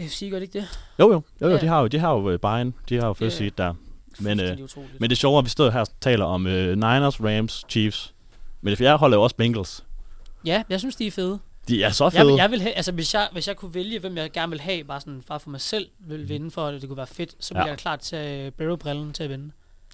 FC, gør det ikke det? Jo, jo, jo, jo Ja. de har jo, de har jo øh, Bayern, de har jo first Ja, ja. seed der. Men, øh, Fuldstændig utroligt. Men det sjove er, at vi står her og taler om øh, Niners, Rams, Chiefs. Men det fjerde hold er jo også Bengals. ja, jeg synes, de er fede. De er så Jeg, fede. jeg vil have, altså, hvis, jeg, hvis jeg kunne vælge, hvem jeg gerne vil have, bare, sådan, bare for mig selv vil vinde, for at det kunne være fedt, så ville Mm. Ja. ja. jeg klart tage øh, Barrow-brillen til at vinde.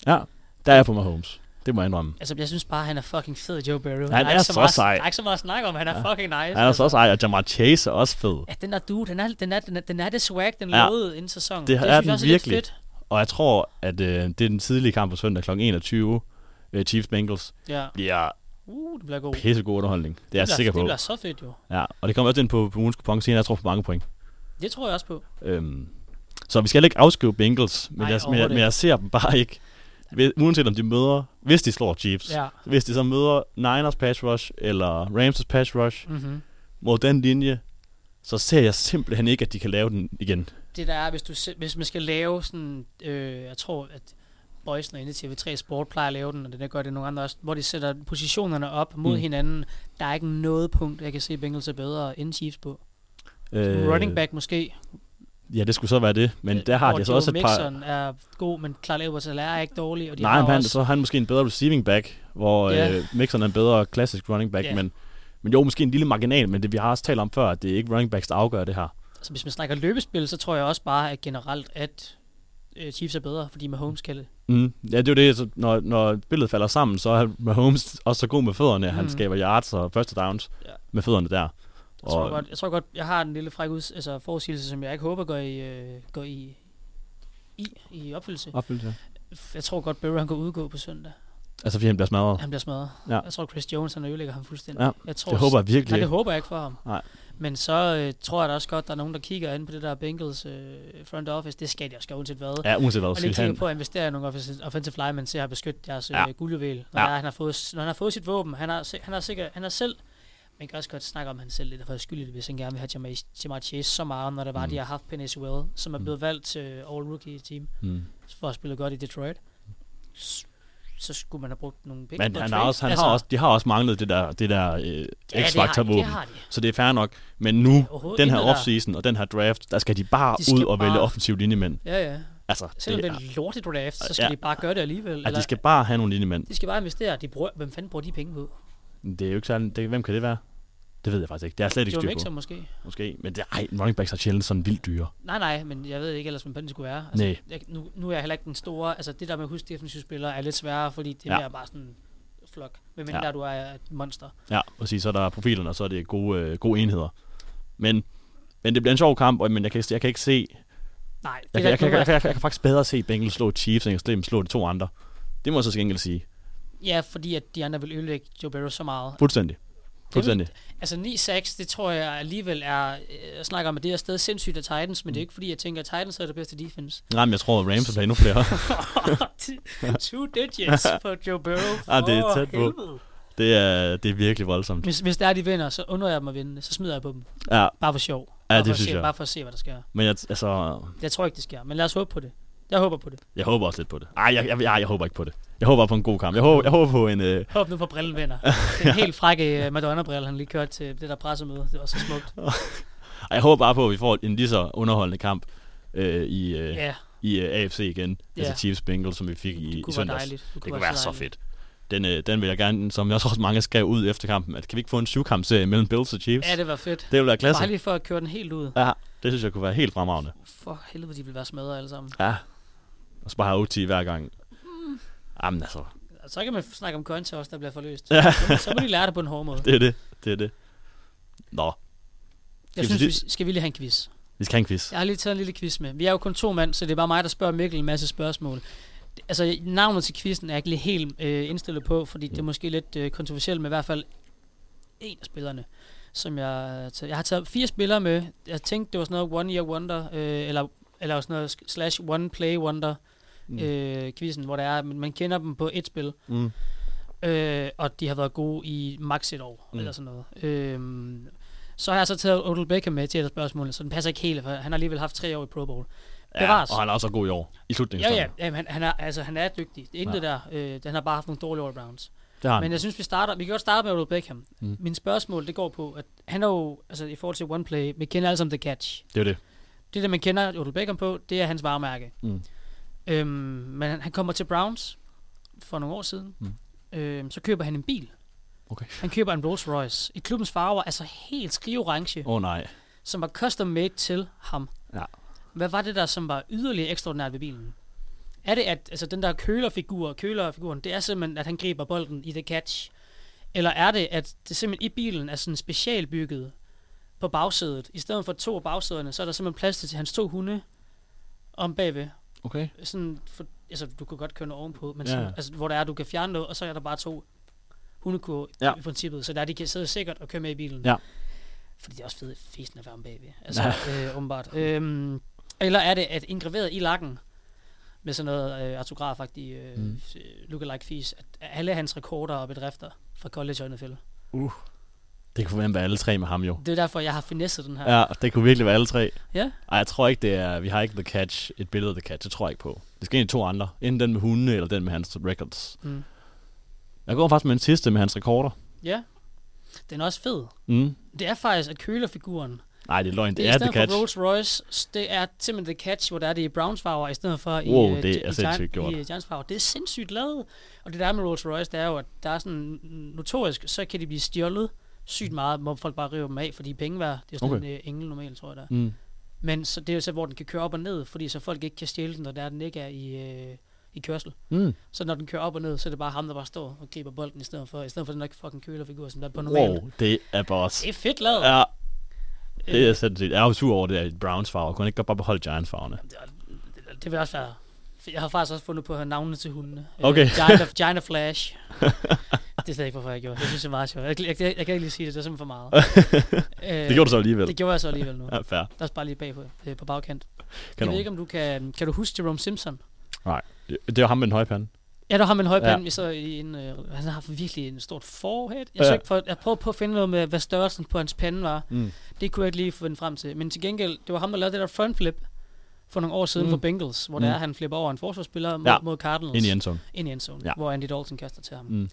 Ja, der er jeg på Mahomes. Det må jeg indrømme. Altså, jeg synes bare, han er fucking fed, Joe Barrow. Han Der er ikke så meget, sej. Der er ikke så meget at snakke om, han er fucking nice. Han er så altså. også ej, og Jamar Chase er også fed. Ja, den der dude, den er, den er, den er, den er det swag, den Ja. ja. lovede inden sæsonen. Det er synes den jeg også virkelig. Er lidt fedt. Og jeg tror, at øh, det er den tidlige kamp på søndag kl. 21. Øh, Chiefs Bengals Ja. bliver Uh, det bliver god. Det pissegod underholdning. Det er jeg bliver, sikker Det på. bliver så fedt jo. Ja, og det kommer også ind på, på ugens kupon senere. Jeg tror på mange point. Det tror jeg også på. Øhm, så vi skal heller ikke afskrive Bengals, men, Nej, jeg, men, jeg, overhovedet men jeg ser dem bare ikke. Ved- Uanset om de møder, hvis de slår Chiefs, Ja. hvis de så møder Niners pass rush, eller Rams' pass rush, Mm-hmm. mod den linje, så ser jeg simpelthen ikke, at de kan lave den igen. Det der er, hvis, du, se- hvis man skal lave sådan... Øh, jeg tror, at Boysen inde i TV3 Sport plejer at lave den, og det der gør det nogle andre også, hvor de sætter positionerne op mod Mm. mm. hinanden. Der er ikke noget punkt, jeg kan se Bengals er bedre end Chiefs på. Øh, running back måske. Ja, det skulle så være det. Men der har hvor de så Joe også et par... Mixon er god, men Clark Edwards er ikke dårlig. Og de Nej, har men han, også, så har han måske en bedre receiving back, hvor Ja. øh, Mixon er en bedre klassisk running back. Ja. Men, men jo, måske en lille marginal, men det vi har også talt om før, at det er ikke running backs, der afgør det her. Så Altså, hvis man snakker løbespil, så tror jeg også bare at generelt, at øh, Chiefs er bedre, fordi Mahomes kan det. Mm. Ja, det er jo det, så når, når billedet falder sammen, så er Mahomes også så god med fødderne. Mm. Han Mm. skaber yards og første downs Ja. med fødderne der. Jeg tror, godt, jeg tror godt, jeg har en lille fræk ud, altså forudsigelse, som jeg ikke håber går i, øh, går i, i, i opfyldelse. Opfyldelse. Jeg tror godt, Burrow han går udgå på søndag. Altså, fordi han bliver smadret. Han bliver smadret. Ja. Ja. Jeg tror, Chris Jones han ødelægger ham fuldstændig. Ja, jeg tror, Det håber jeg virkelig Nej, det ikke. håber jeg ikke for ham. Nej. Men så øh, tror jeg da også godt, der er nogen, der kigger ind på det der Bengals øh, front office. Det skal de også gøre, uanset hvad. Ja, uanset hvad, og lige skal kigger han. på at investere i nogle offensive, offensive linemen til at beskytte deres Ja. ja. øh, guldjuvel. Når, Ja. ja. han har fået, når han har fået sit våben, han har, si- han har, sikkert, han har selv man kan også godt snakke om, at han selv lidt har fået skyld i det, hvis han gerne vil have Jamar- Jamar Chase så meget, når det var, mm. Mm. de har haft Penny Sewell, som er blevet valgt til All-Rookie-team Mm. for at spille godt i Detroit. S- Så skulle man have brugt nogle penge Men på han trade. har også, han altså, har også, de har også manglet det der, det der øh, det har de, X-Factor-våben. det har de. Så det er fair nok. Men nu, Overhovedet den her intet der. offseason og den her draft, der skal de bare De skal ud og vælge bare- offensive linjemænd. Ja, ja. Altså, Selvom det det er, er en lortet draft, så skal Ja. ja. de bare gøre det alligevel. at eller- de skal bare have nogle linjemænd. de skal bare investere. De bruger, hvem fanden bruger de penge på? Det er jo ikke sådan, det, hvem kan det være? Det ved jeg faktisk ikke. Det er jeg slet ikke Joe styr Mixon på, måske? måske. Men det, ej, running backs er sjældent sådan vildt dyre. Nej, nej, men jeg ved ikke ellers, hvem fanden det skulle være. Altså, Nej. jeg, nu, nu er jeg heller ikke den store. Altså, det der med at huske defensive spillere er lidt sværere, fordi det Ja. ja. bliver bare sådan en flok. Men mindre Ja. ja. du er et monster. Ja, præcis. Så er der profilerne, og så er det gode, øh, gode enheder. Men, men det bliver en sjov kamp, og, men jeg kan, jeg kan ikke se... Nej, det Jeg, er kan, jeg, ikke kan, jeg, kan, jeg, noget, kan, jeg kan faktisk bedre se Bengals slå Chiefs, end jeg kan slå de to andre. Det må jeg så til gengæld sige. Ja, fordi at de andre vil ødelægge Joe Barrow så meget. Fuldstændig. Fuldstændig. Altså 9-6, det tror jeg alligevel er... øh, Jeg snakker om, at det er stadig sindssygt af Titans, men Mm. det er ikke fordi, jeg tænker, at Titans er det bedste [LAUGHS] defense. [LAUGHS] Nej, men jeg tror, at Rams vil have endnu flere. [LAUGHS] Two digits for Joe Burrow. Ah, det er For tæt på. helvede. det, er, det er virkelig voldsomt. Hvis, hvis der er, de vinder, så undrer jeg dem at vinde. Så smider jeg på dem. Ja, Bare for sjov. Ja, Bare det for at synes se, jeg. Bare for at se, hvad der sker. men jeg, altså, Jeg tror ikke, det sker, men lad os håbe på det. Jeg håber på det. jeg håber også lidt på det. Ej, jeg, jeg, jeg, jeg håber ikke på det. Jeg håber på en god kamp. Jeg håber, jeg håber på en... Øh, Håb nu på brillen [LAUGHS] vinder. Den helt frække øh, Madonna-brille, han lige kørte til det der pressemøde. Det var så smukt. ej, jeg håber bare på, at vi får en lige så underholdende kamp øh, i, øh, Ja, i øh, AFC igen. Ja. Altså Chiefs Bengals, som vi fik i, det i kunne være søndags. dejligt. Det kunne være så fedt. Den, øh, den vil jeg gerne, som jeg også også mange skrev ud efter kampen, at kan vi ikke få en syvkampserie mellem Bills og Chiefs? Ja, det var fedt. det ville være klasse. Bare lige for at køre den helt ud. Ja, det synes jeg kunne være helt fremragende. For helvede, de vil være smadret alle sammen. Ja. Og så bare have OT hver gang. Jamen altså, Og Så kan man snakke om coin toss, der bliver forløst. Ja. Så- Så må de lære det på en hård måde. det er det. Det er det. Nå, Jeg vi synes, sige- vi skal vi lige have en quiz. vi skal have en quiz. Jeg har lige taget en lille quiz med. Vi er jo kun to mand, så det er bare mig, der spørger Mikkel en masse spørgsmål. Altså, navnet til quizzen er jeg ikke lige helt øh, indstillet på, fordi det er måske lidt øh, kontroversielt med i hvert fald en af spillerne, som jeg... Tager. Jeg har taget fire spillere med. Jeg tænkte, det var sådan noget One Year Wonder, øh, eller, eller sådan noget sk- slash One Play Wonder Mm. mm. øh, quizzen, hvor det er, at man kender dem på et spil, Mm. øh, og de har været gode i max et år, Mm. mm. eller sådan noget. Øh, så har jeg så taget Odell Beckham med til et af spørgsmålene, så den passer ikke helt, for han har alligevel haft tre år i Pro Bowl. Ja, Bevares. og han er også god i år. I slutningen. Ja, ja, jamen, han, han, er, altså, han er dygtig. Det er intet der. Øh, han har bare haft nogle dårlige all-rounds. Det har han. Men jeg synes, vi starter. Vi kan godt starte med Odell Beckham. Mm. Mm. Min spørgsmål, det går på, at han er jo, altså i forhold til one play, vi kender alle sammen The Catch. Det er jo det. Det, der man kender Odell Beckham på, det er hans varemærke. Mm. Øhm, men han, han kommer til Browns for nogle år siden. Mm. Øhm, så køber han en bil. Okay. Han køber en Rolls Royce. I klubbens farver, altså helt skriveorange, Åh oh, nej. som var custom made til ham. Ja. Hvad var det der, som var yderligere ekstraordinært ved bilen? Er det, at altså, den der kølerfigur, kølerfiguren, det er simpelthen, at han griber bolden i the catch? Eller er det, at det simpelthen i bilen er sådan specialbygget på bagsædet? I stedet for to af bagsæderne, så er der simpelthen plads til hans to hunde om bagved. Okay. Sådan for, altså, du kan godt køre noget ovenpå, men Ja. ja. sådan, altså, hvor der er, du kan fjerne noget, og så er der bare to hundekur Ja. ja. i princippet, så der de kan sidde sikkert og køre med i bilen. Ja. Fordi det er også fedt, festen at være om bagved. Altså, øh, åbenbart. Øhm, eller er det, at engraveret i lakken, med sådan noget øh, autografagtigt øh, Mm. mm. lookalike fis, at alle hans rekorder og bedrifter fra college og NFL. Det kunne være alle tre med ham jo. Det er derfor, jeg har finesset den her. Ja, det kunne virkelig være alle tre. ja? Ej, jeg tror ikke, det er... Vi har ikke The Catch, et billede af The Catch. Det tror jeg ikke på. Det skal en af to andre. Enten den med hundene, eller den med hans records. Mm. Jeg går faktisk med en sidste med hans rekorder. ja. Den er også fed. Mm. Det er faktisk, at kølerfiguren Nej, det er løgn. Det Det, er i er The stedet Catch. for Rolls Royce, s- det er simpelthen The Catch, hvor der er det i Browns farver, i stedet for i, Wow, øh, det Gi- er i, sindssygt Gi- gjort. i, øh, Giants farver. Det er sindssygt lavet. Og det der er med Rolls Royce, det er jo, at der er sådan mm, notorisk, så kan de blive stjålet sygt meget, hvor folk bare river dem af, fordi penge værd. Det er sådan Okay. okay. en øh, engel normalt, tror jeg der. Mm. Men så, det er jo så, hvor den kan køre op og ned, fordi så folk ikke kan stjæle den, når der den ikke er i, øh, i kørsel. Mm. Så når den kører op og ned, så er det bare ham, der bare står og griber bolden i stedet for, i stedet for den der fucking kølerfigur, som der er på normalt. Wow, det er boss. Det er fedt lavet. Ja, det er sindssygt. Jeg er jo sur over det der Browns farver. Kunne han ikke godt bare beholde Giants farverne? Det, var- det, det vil også være Jeg har faktisk også fundet på at have navnene til hundene. Øh, Okay. Giant, [LAUGHS] of, Giant of Flash. det er slet ikke, hvorfor jeg gjorde det. Jeg synes, det er meget sjovt. Jeg, jeg, jeg, jeg kan ikke lige sige det, det er simpelthen for meget. øh, [LAUGHS] Det gjorde du så alligevel. det gjorde jeg så alligevel nu. Ja, fair. Der er også bare lige bagpå, øh, på bagkant. Jeg Kanon. ved ikke, om du kan... Kan du huske Jerome Simpson? Nej, det- det var ham med den høje pande. Ja, der har man en Ja. højpande, ja. så i en, øh, han har haft virkelig en stort forhead. Jeg, Ja. ja. for, jeg prøvede på at finde noget med, hvad størrelsen på hans pande var. Mm. Det kunne jeg ikke lige finde frem til. Men til gengæld, det var ham, der lavede det der frontflip for nogle år siden mm. for Bengals, hvor mm. der er, han flipper over en forsvarsspiller mod, Ja. ja. mod Cardinals. Ind i endzone. Ind i endzone, Ja. ja. hvor Andy Dalton kaster til ham. Mm.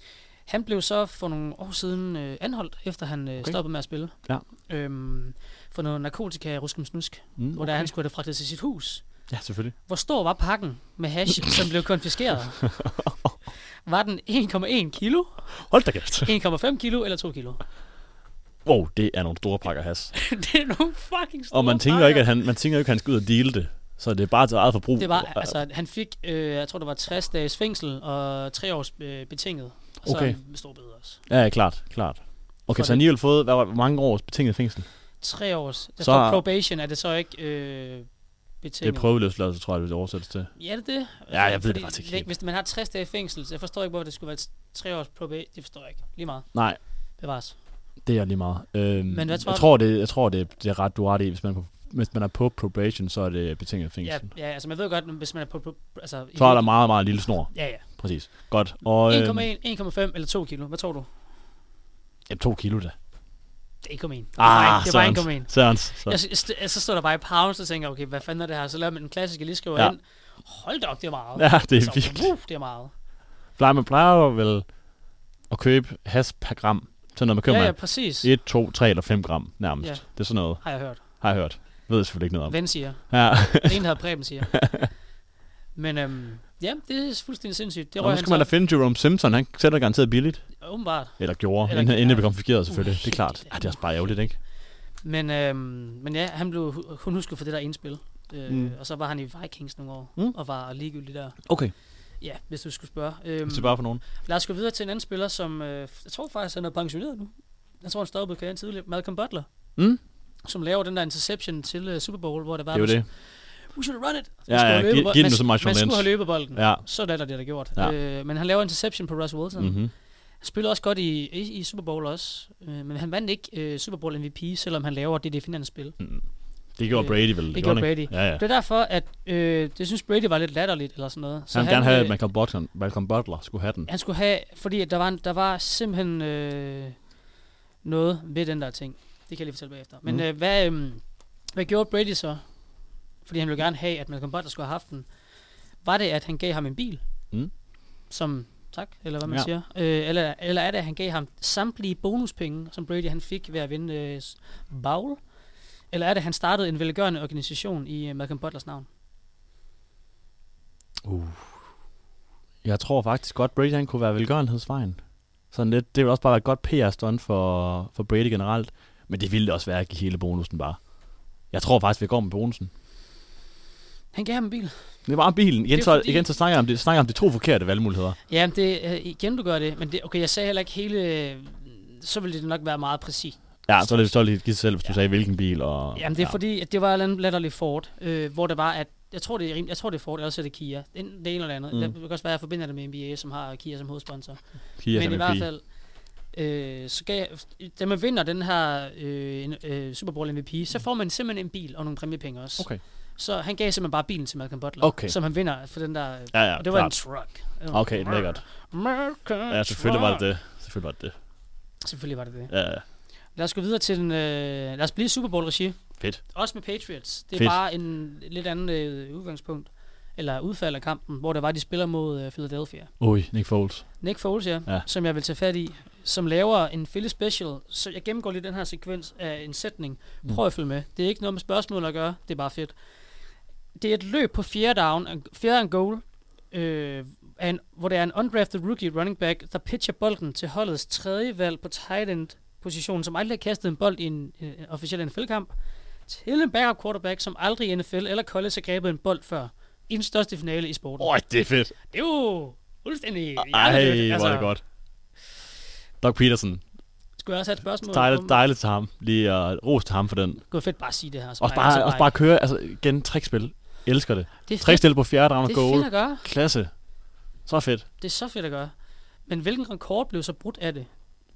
Han blev så for nogle år siden øh, anholdt, efter han øh, Okay. okay. stoppede med at spille. Ja. Øhm, for noget narkotika i Ruskum Snusk, mm, Mm, hvor der han skulle have det fragtet til sit hus. Ja, selvfølgelig. Hvor stor var pakken med hash, som blev [LAUGHS] konfiskeret? Var den 1,1 kilo, Hold da kæft. 1,5 kilo eller 2 kilo? Wow, det er nogle store pakker has. [LAUGHS] det er nogle fucking store Og man tænker pakker. ikke, at han, man tænker ikke, at han skal ud og deale det. Så det er bare til eget forbrug. Det var, altså, han fik, øh, jeg tror, det var 60 dages fængsel og 3 års øh, betinget. Og så Okay. en stor bøde også. Ja, ja, klart, klart. Okay, For så han det. alligevel fået, hvad var det, hvor mange års betinget fængsel? 3 års. Der så... Så- står probation, er det så ikke øh, Det betinget? er prøveløsladelse, tror jeg, det oversættes til. Ja, det er det. Ja, jeg ved det Fordi faktisk ikke hvis- helt. Hvis man har 60 dage fængsel, så jeg forstår ikke, hvorfor det skulle være 3 års probation. Det forstår jeg ikke. Lige meget. Nej, Bevares. det er lige meget. Øhm, hvad tror jeg du? tror, det, jeg tror det, det er ret, du har ret i. Hvis man, er på- hvis man er på probation, så er det betinget Ja, fængsel. ja, altså man ved godt, hvis man er på... på altså, i- Så er der meget, meget lille snor. Ja, ja. Præcis. Godt. Og, øhm, 1,1, 1,5 eller 2 kilo? Hvad tror du? Jamen, to kilo da. Det er 1,1. Det var ikke- Ah, det var Sørens. 1,1. Sørens. Så. Jeg, sy- jeg, så stod der bare i pounds og tænker, okay, hvad fanden er det her? Så laver man den klassiske lige skriver Ja. ja. ind. Hold da op, det er meget. Ja, det er så, virkelig. Uh, det er meget. Plejer, man plejer jo vel at købe has per gram. Sådan noget, man køber ja, ja, ja, præcis. 1, 2, 3 eller 5 gram nærmest. Ja. Det er sådan noget, Har jeg hørt. har jeg hørt. Ved jeg selvfølgelig ikke noget om. Ven [LAUGHS] siger. Ja. En hedder Preben [LAUGHS] siger. Men øhm, ja, det er fuldstændig sindssygt. Det Nå, røg nu han skal man da så. finde Jerome Simpson. Han sætter garanteret billigt. Åbenbart. Eller gjorde, Eller- inden, inden det ja. blev konfigureret selvfølgelig. det er klart. Uheldigt. Ja, det er også bare ærgerligt, ikke? Men, øhm, men ja, han blev hu- kun husket for det der indspil. Øh, Mm. mm. Og så var han i Vikings nogle år, Mm. mm. og var ligegyldig der. Okay. Ja, hvis du skulle spørge. Øhm, Hvis det bare for nogen. Lad os gå videre til en anden spiller, som øh, jeg tror faktisk, han er pensioneret nu. Jeg tror, han stoppede karrieren tidligere. Malcolm Butler, Mm? som laver den der interception til øh, Super Bowl, hvor det var... Det er jo man- det. We should run it! Ja, ja, giv- giv den nu så meget Man Sean skulle Lynch. have løbet bolden. Ja. Så er det, der det, der er gjort. Ja. Ja. Øh, men han laver interception på Russ Wilson. Mm-hmm. Mm-hmm. Spillede også godt i, i, i Super Bowl også. Øh, men han vandt ikke øh, Super Bowl MVP, selvom han laver det definerende spil. Det gjorde Øh, Brady vel. det gjorde gjorde han ikke? Ja, ja. Det er derfor, at øh, det synes Brady var lidt latterligt eller sådan noget. Så han ville gerne have, øh, at Malcolm Butler, Malcolm Butler skulle have den. Han skulle have, fordi at der var, en, der var simpelthen øh, noget ved den der ting. Det kan jeg lige fortælle bagefter. Men Mm. mm. øh, hvad, øh, hvad gjorde Brady så? Fordi han ville gerne have, at Malcolm Butler skulle have haft den. Var det, at han gav ham en bil? Mm. Som tak, eller hvad man Ja. ja. siger. Øh, eller, eller er det, at han gav ham samtlige bonuspenge, som Brady han fik ved at vinde øh, s- Bowl? Eller er det, at han startede en velgørende organisation i øh, Malcolm Butlers navn? Jeg tror faktisk godt, Brady han kunne være velgørenhedsvejen. Sådan lidt, det ville også bare være et godt PR-stund for, for Brady generelt. Men det ville det også være at give hele bonusen bare. Jeg tror faktisk, vi går med bonusen. Han gav ham en bil. Det var bilen. Igen, Det er så, fordi- igen så snakker jeg om det, snakker jeg om de to forkerte valgmuligheder. Ja, men det, øh, igen du gør det, men det, okay, jeg sagde heller ikke hele, øh, så ville det nok være meget præcist. Ja, så er det så lige give sig selv, hvis du sagde, hvilken bil. Og, Jamen det er ja. ja. fordi, at det var en eller anden latterlig Ford, øh, hvor det var, at jeg tror, det er, rim- jeg tror, det er Ford, ellers er det Kia. Enten det ene eller det andet. Mm. Mm. Det kan også være, at jeg forbinder det med NBA, som har Kia som hovedsponsor. Kia Men i MVP. hvert fald, øh, så gav, da man vinder den her øh, en- øh, Super Bowl MVP, så får man simpelthen en bil og nogle præmiepenge også. Mm. Okay. Så han gav simpelthen bare bilen til Malcolm Butler, Okay. som han vinder for den der... Ja, ja, og det var klart. en truck. Okay, lækkert. American Ja, selvfølgelig var det truck. det. Selvfølgelig var det det. Selvfølgelig var det det. Ja, ja. Lad os gå videre til den, øh, lad os blive i Super Bowl regi. fedt. Også med Patriots. Det er Fedt. Fedt. bare en lidt anden øh, udgangspunkt eller udfald af kampen, hvor der var de spiller mod øh, Philadelphia. Ui, Nick Foles. Nick Foles, ja, Ja. ja, som jeg vil tage fat i, som laver en Philly special. Så jeg gennemgår lige den her sekvens af en sætning. Mm. Prøv at følge med. Det er ikke noget med spørgsmål at gøre, det er bare fedt. Det er et løb på fjerde down, fjerde and goal, øh, af en, hvor det er en undrafted rookie running back, der pitcher bolden til holdets tredje valg på tight end positionen, som aldrig har kastet en bold i en, en officiel NFL-kamp, til en backup quarterback, som aldrig i NFL eller college har grebet en bold før, i den største finale i sporten. Oj, det er fedt. Det er jo fuldstændig... Altså, Ej, hjernedødt, hvor er det godt. Doc Peterson. Skulle jeg også have et spørgsmål? Dejligt, dejligt til ham. Lige at uh, ros til ham for den. Det kunne fedt bare at sige det her. så Også jeg ikke bare, så også bare køre, altså igen, trickspil. Et Elsker det. Det er Tre fedt, stil på fjerde round det og er fedt goal. at gøre. Klasse. Så fedt. Det er så fedt at gøre. Men hvilken rekord blev så brudt af det?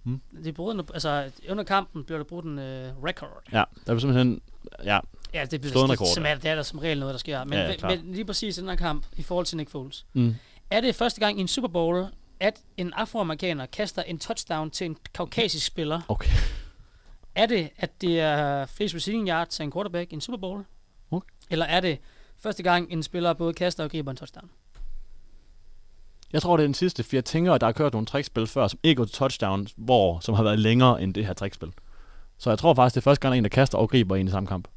Hmm. Det brød, en- altså, under kampen blev der brudt en øh, record. Ja, der er simpelthen... Ja, Ja, det blev Slået en det, rekord, som er, det er der som regel noget, der sker. Men, Ja, ja, ja, klart. men lige præcis i den her kamp, i forhold til Nick Foles, Mm. er det første gang i en Super Bowl, at en afroamerikaner kaster en touchdown til en kaukasisk spiller? okay. Er det, at det er flest receiving yards til en quarterback i en Super Bowl? Okay. Eller er det første gang, en spiller både kaster og griber en touchdown? Jeg tror, det er den sidste, for jeg tænker, at der har kørt nogle trickspil før, som ikke går til touchdown, hvor, som har været længere end det her trickspil. Så jeg tror faktisk, det er første gang, der er en, der kaster og griber en i samme kamp.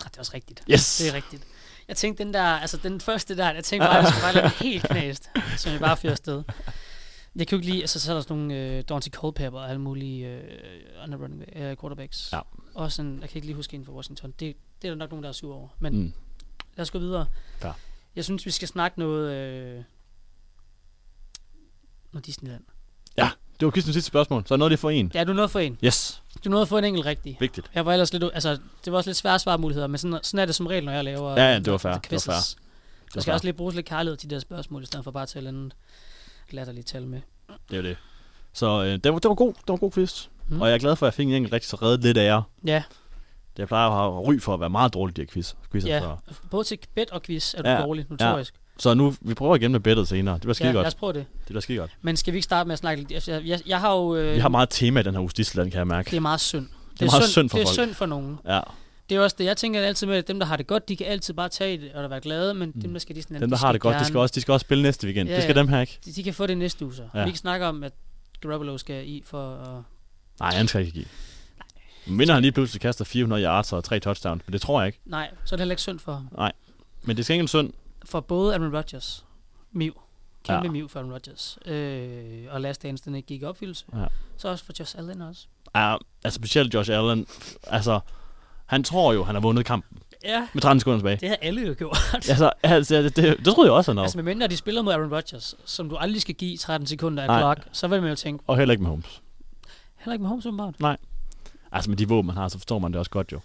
Ah, Det er også rigtigt. Yes! Det er rigtigt. Jeg tænkte den der, altså den første der, jeg tænkte bare, at jeg skulle bare lade den helt knæst, som jeg bare fyrer afsted. Jeg kan jo ikke lide, altså så er der sådan nogle øh, Dante Culpepper og alle mulige øh, andre running back, øh, quarterbacks. Ja. Også en, jeg kan ikke lige huske en for Washington. Det, det er der nok nogen, der er sur over. Men mm. Mm. lad os gå videre. Ja. Jeg synes, vi skal snakke noget... Øh, noget Disneyland. Ja, det var Christians sidste spørgsmål. Så er noget lige for en. Ja, du nåede at få en. Yes, Du nåede at få en enkelt rigtig. vigtigt. Jeg var ellers lidt, u- altså, det var også lidt svære svarmuligheder, men sådan, sådan er det som regel, når jeg laver øh, Ja, ja, det var fair, det var quizzes. fair. Der var skal fair. også lige bruges lidt kærlighed til de der spørgsmål, i stedet for bare at tale andet latterligt tal med. Det er jo det. Så øh, det, var, det var god, det var en god quiz. Mm. Mm. Og jeg er glad for, at jeg fik en enkelt rigtig så reddet lidt af jer. Ja, Jeg plejer at have ry for at være meget dårlig i de her quiz, quizzer. Ja. Så. både til bet og quiz er du ja, Ja, dårlig, notorisk. Ja, så nu, vi prøver igen med bettet senere. Det bliver skide ja, ja, lad godt. os prøve det. Det bliver skide godt. Men skal vi ikke starte med at snakke lidt? Altså, Jeg, jeg, jeg har jo... Øh, Vi har meget tema i den her uges Disneyland, kan jeg mærke. det er meget synd. Det meget synd for Det er folk. synd for nogen. Ja, Det er også det, jeg tænker altid med, at dem, der har det godt, de kan altid bare tage det og være glade, men mm. dem, der skal Disneyland, dem de der har det godt, de gerne- skal, også, de skal også spille næste weekend. Ja, det skal ja. dem her ikke. de, de kan få det næste uge så. Ja. Vi kan snakke om, at Garoppolo skal i for at Nej, han skal ikke give. Men Vinder han lige pludselig kaster 400 yards og tre touchdowns, men det tror jeg ikke. Nej, så er det heller ikke synd for ham. Men det skal ikke en synd. For både Aaron Rodgers, Miv, kæmpe ja. Ja. Miv for Aaron Rodgers, øh, og Last Dance, den ikke gik i opfyldelse. Ja. Ja. Så også for Josh Allen også. Ja, altså specielt Josh Allen. Altså, han tror jo, han har vundet kampen Ja, med 13 sekunder [LAUGHS] tilbage. det har alle jo gjort. Altså, altså det, det, det troede jeg også, han havde. altså, medmindre de spiller mod Aaron Rodgers, som du aldrig skal give 13 sekunder af Nej. clock, så vil man jo tænke, Og heller ikke med Holmes. heller ikke med Holmes åbenbart. Altså med de våben, man har, så forstår man det også godt jo.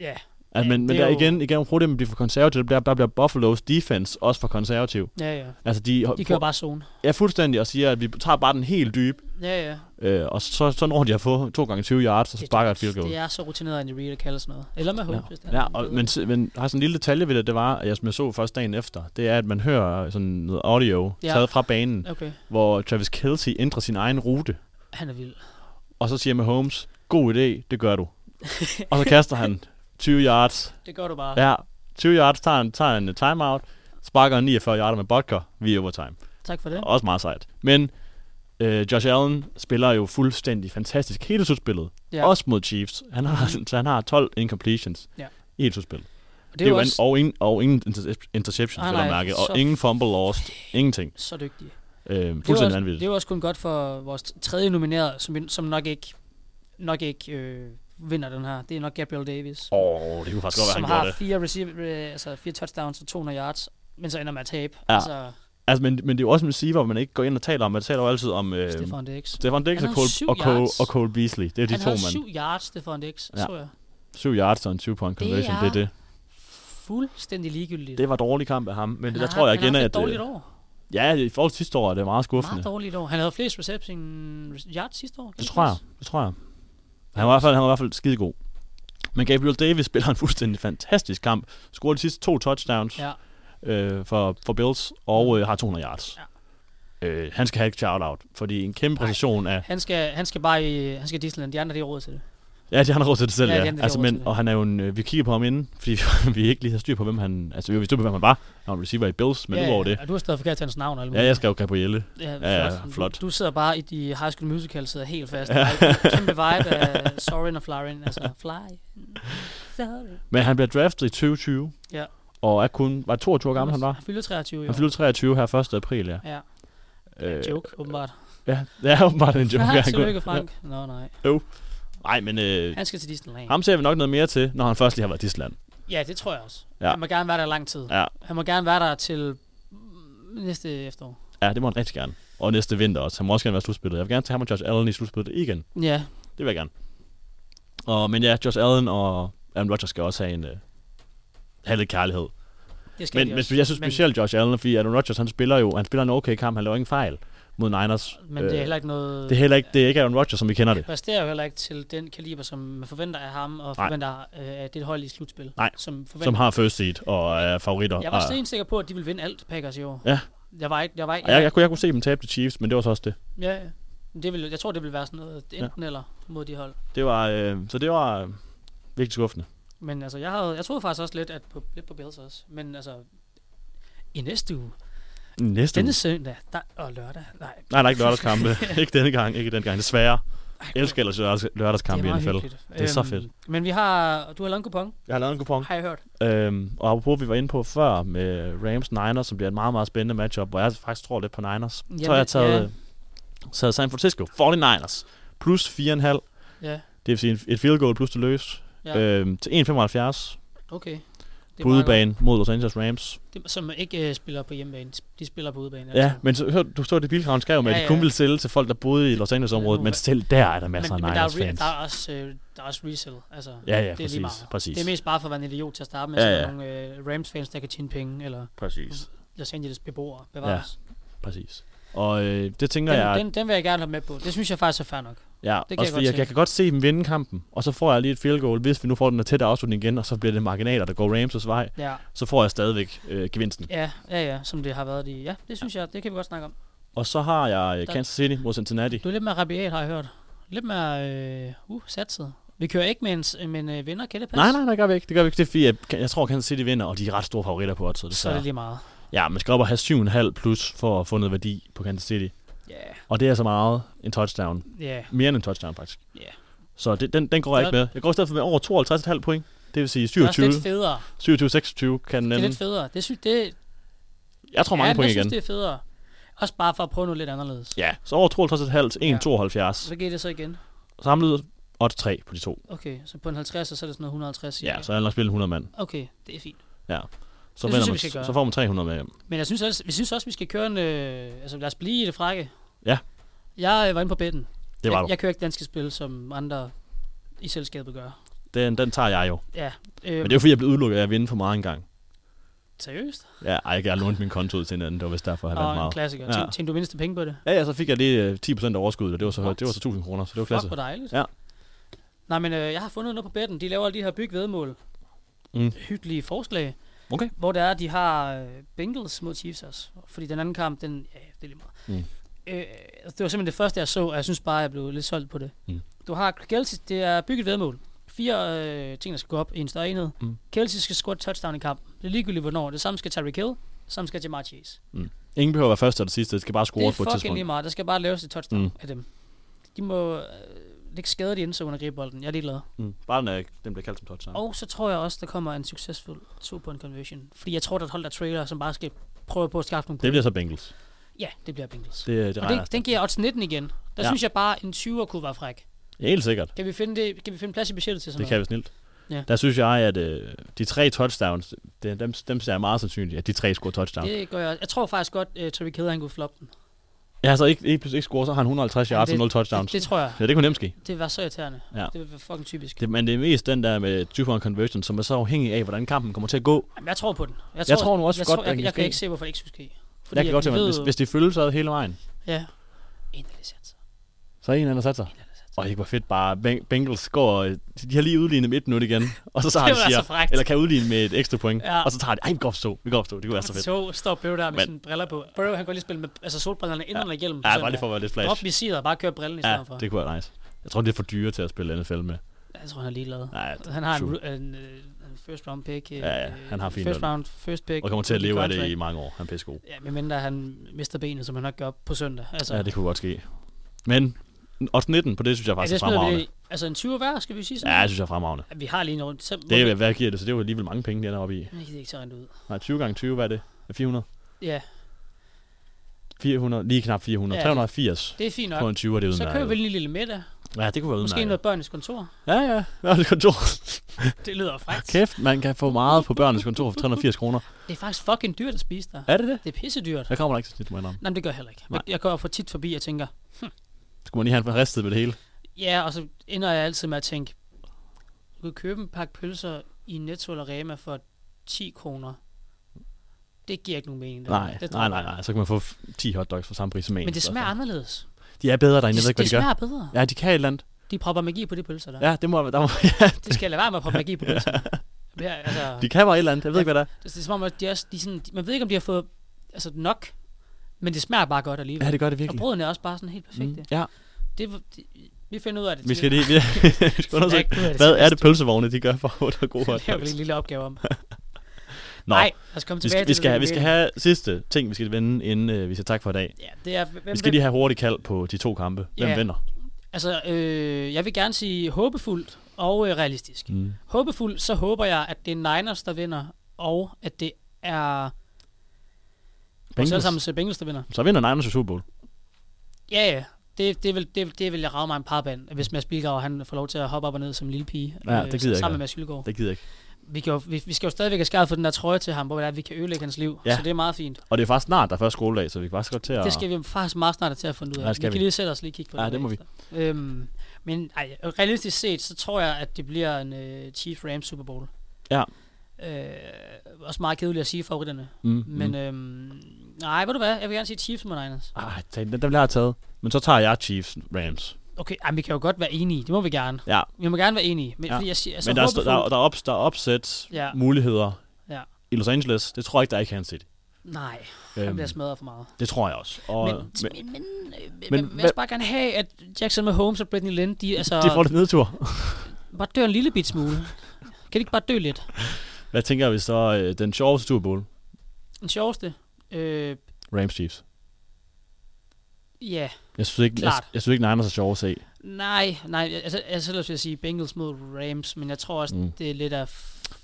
Ja, Altså, Ja, men, men det er der jo- igen, igen problemet bliver for konservativ, der, der bliver Buffalo's defense også for konservativ. ja, ja. Altså de, De kører bare zone. Ja, fuldstændig, og siger, at vi tager bare den helt dybe, Ja, ja. øh, og så, så når de har fået 2 gange 20 yards, og så sparker et field goal. Det er så rutineret, Andy Reid at kalde sådan noget. Eller med Holmes, Ja, hvis det er. ja og, men, s- men har sådan en lille detalje ved det, det var, at jeg, som jeg så først dagen efter, det er, at man hører sådan noget audio Ja. ja. taget fra banen, Okay, hvor Travis Kelsey ændrer sin egen rute, han er vild. og så siger Mahomes, god idé, det gør du. og så kaster han 20 yards. Det gør du bare. Ja, 20 yards, tager en, tager en øh, timeout, sparker en 49 yards med Butker via overtime. Tak for det. Også meget sejt. Men øh, Josh Allen spiller jo fuldstændig fantastisk hele slutspillet. Ja. Mm. Ja. Også mod Chiefs. Han har, så han har 12 incompletions Ja. i hele slutspillet. Og Det er jo også... og, ingen, og ingen inter- interception, Nej, ah, nej, mærke, og så- ingen fumble lost, ingenting. Så dygtig. Øh, Det er, fuldstændig også, det er vanvittigt. jo også kun godt for vores tredje nomineret, som, vi- som nok ikke, nok ikke øh, vinder den her. Det er nok Gabriel Davis, Åh, oh, det kunne faktisk godt være, som han har gjorde det. fire, receive, øh, altså fire touchdowns og 200 yards, men så ender med at tabe. Ja. Altså, Altså, men, men det er jo også en receiver, man ikke går ind og taler om. Man taler jo altid om øh, Stefan Dix. Stefan Dix Han og havde syv Cole, og, Cole, yards. og Cole Beasley. Det er de Han to, havde man. syv yards, Stefan Dix, ja. Ja. så jeg. 7 yards og en 20-point conversion, er- det er det. Fuldstændig ligegyldigt. Det var dårlig kamp af ham, men det, Han der har- tror jeg han igen, har at... haft et dårligt øh, år. Ja, i forhold til sidste år er det meget Meget skuffende. dårligt år. Han havde flest reception yards sidste år. kan Det ikke tror jeg. passe? Det tror jeg. Han var i hvert fald, han var i hvert fald skidegod. Men Gabriel Davis [LAUGHS] spiller en fuldstændig fantastisk kamp. Scorer de sidste to touchdowns Ja. Mm. øh, for, for Bills, og øh, har 200 yards. Ja. Øh, han skal have et shout-out, fordi en kæmpe præcision af... Han skal, han skal bare i, han skal i Disneyland. De andre, de har råd til det. Ja, de har råd til det selv, Ja, de ja. andre, de har altså, råd til men, det. og han er jo en, øh, vi kigger på ham inden, fordi [LAUGHS] vi ikke lige har styr på, hvem han... Altså, vi vidste på, hvem han var. Han var receiver i Bills, men ja, udover ja, det... Og du har stadig forkert til hans navn og alt Ja, muligt. jeg skrev Gabrielle. Ja, Ja, flot. ja, flot. Du, du sidder bare i de High School Musical, sidder helt fast. Der er en Kæmpe vibe af Sorin og Flyin, altså Fly. Sorry. Men han bliver draftet i 2020, Ja. og er kun... Var 22 år gammel, han var? Han fylder 23 i Han år. fyldte 23 her 1. april, ja. Ja, Øh, joke, åbenbart. Ja, det er åbenbart en [LAUGHS] [LAUGHS] joke. Ja, Han tillykke, kunne- Frank. Nå, nej. Nej, men øh, Han skal til Disneyland. ham ser vi nok noget mere til, når han først lige har været i Disneyland. Ja, det tror jeg også. Ja. Han må gerne være der i lang tid. Ja. Han må gerne være der til mm, næste efterår. Ja, det må han rigtig gerne. Og næste vinter også. Han må også gerne være i slutspillet. Jeg vil gerne tage ham og Josh Allen i slutspillet igen. Ja, Det vil jeg gerne. Og, men ja, Josh Allen og Aaron Rodgers skal også have en øh, have lidt kærlighed. Det skal Men, de men også. jeg synes specielt Josh Allen, fordi Aaron Rodgers, han spiller jo han spiller en okay kamp, han laver ingen fejl mod Niners. Men, men det er heller ikke noget... øh, det er heller ikke, det er ikke Aaron Rodgers, som vi kender det. præsterer jo heller ikke til den kaliber, som man forventer af ham, og Nej. forventer øh, at det er et hold i et slutspil. Nej, som, forventer. Som har first seed og er favoritter. Jeg var og, stensikker sikker på, at de ville vinde alt Packers i år. Ja. Jeg var ikke... Jeg var ikke jeg, jeg, kunne, jeg kunne se dem tabe til Chiefs, men det var så også det. ja, ja. Men Det ville, jeg tror, det ville være sådan noget enten ja. eller mod de hold. det var, øh, så det var øh, virkelig skuffende. Men altså, jeg, havde, jeg troede faktisk også lidt, at på, lidt på Bills også. Men altså, i næste uge, Næste denne uge. søndag der, og lørdag, nej, Nej, der er ikke lørdagskampe. [LAUGHS] ikke denne gang, ikke den gang, desværre. Jeg elsker ellers lørdags- lørdagskampe i meget NFL. hyggeligt. Øhm, Det er så fedt. Men vi har, du har lavet en kupon, Jeg har lavet en kupon. har jeg hørt. Øhm, og apropos, vi var inde på før med Rams Niners, som bliver et meget, meget spændende matchup, hvor jeg faktisk tror lidt på Niners. Jamen, så har jeg taget, ja. taget San Francisco 49ers plus 4,5. Ja, Det vil sige en- et field goal plus det løs. ja, Ja. Øhm, til 1,75 okay. Det er på meget godt. udebane mod Los Angeles Rams. Det, som ikke øh, spiller på hjemmebane. De spiller på udebane. Ja, men så, hør, du så det bilkraven skrev med, ja, Ja, at de ja. kun ville sælge til folk, der boede i Los Angeles-området, Ja, nu- men selv der er der masser men, af men der, er, re- Niners-fans. der, er også, øh, der er også resell. Altså, Ja, ja, det er lige præcis. meget. præcis. Det er mest bare for at være en idiot til at starte med, Ja, ja, så der ja. er nogle øh, Rams-fans, der kan tjene penge, eller præcis. Los Angeles beboere, bevares. præcis. Og øh, det Ja, tænker den, jeg, den, den vil jeg gerne have med på. Det synes jeg faktisk er fair nok. Ja, det kan kan også jeg fordi godt jeg, se. jeg kan godt se dem vinde kampen, og så får jeg lige et field goal, hvis vi nu får den her tætte afslutning igen, og så bliver det marginaler, der går Rams' vej, Ja, så får jeg stadigvæk øh, gevinsten. ja, ja, ja som det har været i. Ja, det synes jeg, det kan vi godt snakke om. Og så har jeg øh, Der- Kansas City mod Cincinnati. Du er lidt mere rabiat, har jeg hørt. Lidt mere øh, uh, satset. Vi kører ikke med en, s- med en øh, vinder, kan det passe? Nej, nej, nej, gør vi ikke. Det gør vi ikke. Det er fordi, jeg, jeg tror, Kansas City vinder, og de er ret store favoritter på odds. Så er det lige meget. Ja, man skal op og have 7,5 plus for at få noget værdi på Kansas City. Ja, Og det er så meget en touchdown. ja, Mere end en touchdown, faktisk. ja. Så det, den, den går jeg Så- ikke med. Jeg går i stedet for med over 52,5 point. Det vil sige Det er også 27, lidt federe. 27-26 kan Det er den lidt federe. Det, synes, det, Jeg tror mange ja, men point jeg igen. synes, det er federe. Også bare for at prøve noget lidt anderledes. Ja, så over 52,5 til 1,72. Så giver det så igen. Samlet odds 3 på de to. Okay, så på en 50, så er det sådan noget 150. cirka. Ja, så er han nok spillet 100 mand. Okay, det er fint. Ja. Så, Det synes vinder jeg, man, vi skal gøre. så får man 300 med hjem. Men jeg synes også, vi synes også, vi skal køre en... Øh, altså, lad os blive i det frække. Ja. Jeg øh, var inde på bedden. Det var jeg, du. jeg kører ikke danske spil, som andre i selskabet gør. Den, den tager jeg jo. Ja. Øh, Men det er jo fordi, jeg blev udelukket af at vinde for meget engang. Seriøst? Ja, ej, jeg har lånt min konto ud til en anden. Det var vist derfor, jeg Nå, vandt en meget. klassiker. Ja. Ja. Tjente du mindste penge på det? Ja, ja, så fik jeg lige øh, 10% overskud, og det var så, What? det var så 1000 kroner, så det var Fuck, klasse. hvor dejligt. Ja. Nej, men øh, jeg har fundet noget på bedden. De laver alle de her bygvedmål. Mm. Hyggelige forslag. Okay. Hvor det er, de har øh, Bengals mod Chiefs også. Fordi den anden kamp, den... Ja, det er lige meget. Mm. Øh, altså, det var simpelthen det første, jeg så, og jeg synes bare, jeg blev lidt solgt på det. Mm. Du har Kelsey, det er bygget vedmål. Fire øh, ting, der skal gå op i en større enhed. Mm. Kelsey skal score et touchdown i kampen. Det er ligegyldigt, hvornår. Det samme skal Tyreek Hill, det samme skal Jamar Chase. Ingen behøver at være første eller sidste. Det skal bare Det score er på et fucking tidspunkt. lige meget. Der skal bare laves et touchdown Mm. mm. af dem. De må øh, lægge skade i indsøgerne og gribe bolden. Jeg er ligeglad. Mm. Bare den, er- den bliver kaldt som touchdown. Og så tror jeg også, der kommer en succesfuld two point conversion. Fordi jeg tror, der er et hold, der trailer, som bare skal prøve på at skaffe nogle Det point. bliver så Bengals. Ja, det bliver Bengals. Det, det og regner. altså. det, den giver odds 19 igen. Der Ja. ja. synes jeg bare, en 20'er kunne være fræk. Ja, helt sikkert. Kan vi finde, det, kan vi finde plads i budgettet til sådan Det kan noget? være snilt. Ja. Der synes jeg, at øh, de tre touchdowns, det, dem, dem ser jeg meget sandsynligt, at de tre scorer touchdown. Det gør jeg. også. Jeg tror faktisk godt, at uh, Tyreek Hill, han kunne floppe den. Ja, så ikke, ikke, pludselig ikke score, så har han 150 yards det- og 0 touchdowns. Det, det, tror jeg. Ja, det kunne nemt ske. Det var så irriterende. Ja. Ja. Det var fucking typisk. Det, Det, men det er mest den der med 20 point conversion, som er så afhængig af, hvordan kampen kommer til at gå. Jamen, jeg tror på den. Jeg tror nu også jeg godt, tror, den jeg, kan jeg, jeg kan ske. ikke se, hvorfor det ikke skulle ske. Fordi jeg kan godt vi tænke mig, ved hvis, jo- hvis det følges ad hele vejen, Ja. En af licenser. så er en anden sat sig. Og det var fedt bare, Ben- Bengals går, øh, de har lige udlignet med et [LAUGHS] minut igen, og så tager Det de var siger, så frækt. eller kan udligne med et ekstra point, Ja. og så tager de, ej, vi går opstå, vi går opstå, det kunne være så fedt. Så står Burrow der med Men- sine briller på. Burrow, han går lige og spille med altså solbrillerne inden eller igennem. Ja, bare lige for at være lidt Drop flash. visiret og bare køre brillen i Ja, stedet for. det kunne være nice. Jeg tror, det er for dyre til at spille NFL med. Jeg tror, han er ligeglad. Nej, det- han har en, true. ru- en, øh, en first round pick. øh, Ja, ja, han har fint First løn. round, first pick. Og kommer til at rookie leve af det i contract. mange år. Han er pissegod. Ja, medmindre han mister benet, som han nok gør på søndag. Altså, Ja, det kunne godt ske. Men odds 19 på det, synes jeg ja, faktisk det er smider vi fremragende. lige- Altså en 20 hver, skal vi sige sådan? Ja, det synes jeg er fremragende. Vi har lige en rundt. Så, Det er, hvad giver det? Så det er jo alligevel mange penge, de ender op i. Jeg gider ikke så rent ud. Nej, 20 gange 20, hvad er det? Er 400? Ja, 400, lige knap 400. Ja. 380 det er fint nok. på en 20, er det Så udmærket. køber vi lige en lille middag. Ja, det kunne være Måske udmærket. noget børnenes [LAUGHS] kontor. Ja, ja. Hvad er det kontor? Det lyder frækt. [LAUGHS] Kæft, man kan få meget på børnenes kontor for 380 kroner. Det er faktisk fucking dyrt at spise der. Er det det? Det er pissedyrt. Jeg kommer da ikke så tit, må jeg indrømme. Nej, men det gør jeg heller ikke. Nej. Nej. Jeg går for tit forbi og tænker, Skulle man lige have en ristet ved det hele? ja, og så ender jeg altid med at tænke, du kan købe en pakke pølser i Netto eller Rema for 10 kroner. Det giver ikke nogen mening. det Nej, der. det nej, nej, nej. Så kan man få f- 10 hotdogs for samme pris som en. Men det så- smager anderledes. De er bedre derinde, Det, jeg ved ikke, det, hvad det de gør. smager bedre. Ja, de kan et eller andet. De propper magi på de pølser der. Ja, det må, der må, ja, Det skal jeg lade være med at proppe magi på [LAUGHS] pølser. Ja, altså, de kan bare et eller andet. Jeg ved ikke, hvad det det, det er som om, at de også, de er sådan, man ved ikke, om de har fået altså, nok, men det smager bare godt er. alligevel. Ja, det gør det og virkelig. brødene er også bare sådan helt perfekte. Mm. Ja, Det, var- det, vi finder ud af det. vi til- skal lige... Vi, [LAUGHS] vi skal undersøge, Ja, nu er det hvad til er næste det pølsevogne, de gør for at få [LAUGHS] gode Det er vel en hotdogs? lille opgave om. Nå, Nej, lad os komme vi tilbage skal, vi, til det, skal, vi skal have sidste ting, vi skal vende, inden øh, vi siger tak for i dag. Ja, det er, hvem, Vi skal lige have hurtigt kald på de to kampe. Hvem Ja. vinder? Mm. Altså, øh, jeg vil gerne sige håbefuldt og øh, realistisk. Mm. Håbefuldt, så håber jeg, at det er Niners, der vinder, og at det er vores Bengals. allesammen Bengals, der vinder. Så vinder Niners jo Super Bowl. Ja, ja. Det, det, vil, det, det vil jeg rave mig en par band, hvis Mads Bilgaard, han får lov til at hoppe op og ned som en lille pige. øh, Ja, det gider jeg Sammen ikke. med Mads Hylgaard. Det gider jeg ikke. Vi, kan jo, vi, vi, skal jo stadigvæk have skaffet for den der trøje til ham, hvor det er, at vi kan ødelægge hans liv. Ja. Så det er meget fint. Og det er faktisk snart, der er første skoledag, så vi kan faktisk godt til at... Det skal vi faktisk meget snart have til at finde ud af. Ja, det skal vi kan vi. lige sætte os lige og kigge på Ja, det. det må bagefter. Øhm, men ej, realistisk set, så tror jeg, at det bliver en øh, Chiefs Rams Super Bowl. Ja. Øh, også meget kedeligt at sige favoritterne. Mm, Men øh- mm. øhm, nej, ved du hvad? Jeg vil gerne sige Chiefs mod Niners. Ej, tag den, den bliver jeg taget. Men så tager jeg Chiefs Rams. Okay, ej, men vi kan jo godt være enige. Det må vi gerne. Ja, Vi må gerne være enige. Men, Ja. ja. fordi jeg siger, altså, men der er, st- håbefuldt- der, der, er ops, der er opsæt Ja. ja. muligheder Ja. i Los Angeles. Det tror jeg ikke, der er i Kansas City. Nej, han Øhm, bliver smadret for meget. det tror jeg også. Og, Men, men, men, men, men, øh, men, men men, jeg skal bare gerne have, at Jackson med Holmes og Brittany Lynn, de, altså, de får lidt nedtur. bare dør en lille bit smule. kan de ikke bare dø lidt? [LAUGHS] Hvad tænker vi så? Øh, den sjoveste Super Bowl? Den sjoveste? Øh, Rams Chiefs. ja. Jeg synes ikke, jeg, Klart. jeg synes ikke Niners er sjov at se. Nej, nej. Altså, jeg selv vil jeg sige Bengals mod Rams, men jeg tror også, Mm. mm. det er lidt af...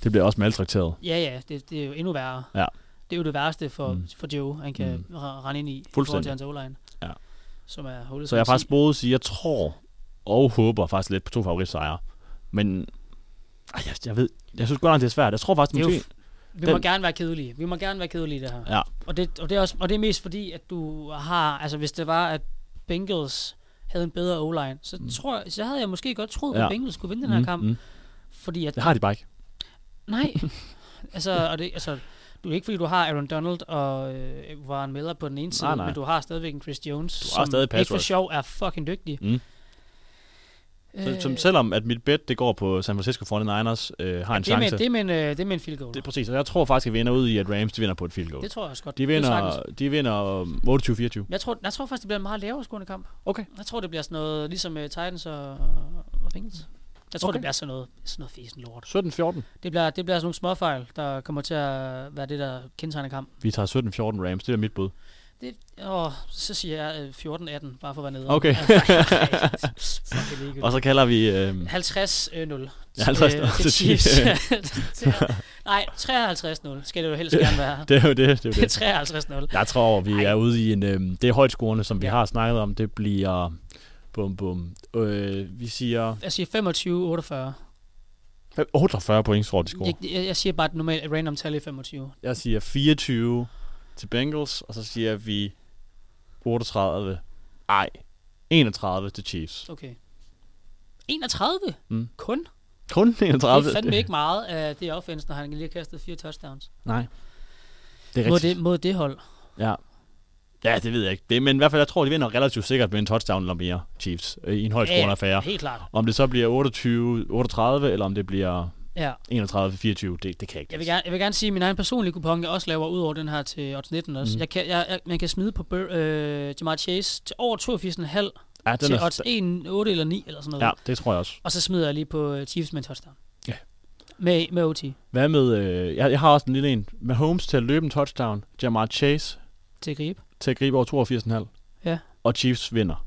Det bliver også maltrakteret. Ja, ja, det, det er jo endnu værre. Ja. Det er jo det værste for, Mm. mm. for Joe, han kan mm. rende ind i, i forhold Fuldstændig. til hans O-line. Ja. Som er hullet Så som jeg en har faktisk si. både sige, jeg tror og håber faktisk lidt på to favoritsejre. Men ej, jeg, jeg ved, jeg synes godt nok, det er svært. Jeg tror faktisk, Det er jo måske... Vi den- må gerne være kedelige. Vi må gerne være kedelige i det her. Ja, Og det, og det er også, og det er mest fordi, at du har... Altså, hvis det var, at Bengals havde en bedre O-line, så, mm. tror jeg, så havde jeg måske godt troet, ja. Ja. at Bengals skulle vinde den her mm. kamp. Mm. Fordi at Det har de bare ikke. [LAUGHS] Nej. altså, og det, altså, du er ikke fordi, du har Aaron Donald og øh, Warren Miller på den ene side, nej. men du har stadigvæk en Chris Jones, Du har stadig pass ikke for rush. sjov er fucking dygtig. Øh, Mm. Så, som selvom at mit bet det går på San Francisco 49ers, øh, har en det, er med, chance. det, er med en, øh, det er med en field goal. Det er Det, præcis, og jeg tror faktisk, at vi ender ud i, at Rams de vinder på et field goal. det tror jeg også godt. De Det er sagtens. vinder, de vinder øhm, 28-24. jeg tror, jeg tror faktisk, det bliver en meget lavere skående kamp. Okay. Jeg tror, det bliver sådan noget, ligesom uh, Titans og, og Bengals. Jeg tror, Okay. okay. det bliver sådan noget, sådan noget fesen lort. 17-14. Det bliver, det bliver sådan nogle småfejl, der kommer til at være det, der kendetegner kamp. Vi tager 17-14 Rams, det er mit bud. Det, åh, så siger jeg øh, 14-18, bare for at være nede. Okay. Fuck, det er Og så kalder vi... Øhm, [LAUGHS] 50 øh, 0 Ja, 50 til, nul Øh, til [LAUGHS] til Chiefs. [LAUGHS] Chiefs. Til- Nej, 53 0 skal det jo helst gerne være. [LAUGHS] det er jo det, det er jo Det er det. 53 0. Jeg tror, vi Ej. er ude i en... Øhm, det er højtscorende, som vi Ja. har snakket om. Det bliver... Bum, bum. Øh, vi siger... Jeg siger 25 48. 48 point, tror jeg, de scorer. Jeg, jeg, jeg siger bare et normalt et random tal i 25. Jeg siger 24 til Bengals, og så siger vi 38. Ej, 31 til Chiefs. Okay. 31? Mm. Kun? Kun 31. Det er fandme ikke meget af det offense, når han lige har kastet fire touchdowns. [LAUGHS] Nej. Det er Mod rigtigt. det, mod det hold. Ja. Ja, det ved jeg ikke. Det, men i hvert fald, jeg tror, de vinder relativt sikkert med en touchdown eller mere, Chiefs, øh, i en højscorende affære. helt klart. Om det så bliver 28-38, eller om det bliver Ja. 31-24, det, det kan jeg ikke. Jeg vil, gerne, jeg vil gerne sige, at min egen personlige kupon, jeg også laver ud over den her til odds 19 Mhm. også. Mm. Jeg kan, jeg, jeg, man kan smide på Bur, øh, Jamar Chase til over 82,5 ja, den til er, odds 1, 8 eller 9 eller sådan noget. ja, det tror jeg også. Og så smider jeg lige på øh, Chiefs med en touchdown. Ja. Med, med OT Hvad med, øh, jeg, jeg har også en lille en, med Holmes til at løbe en touchdown, Jamar Chase til at gribe. til at gribe over 82,5, Ja. og Chiefs vinder.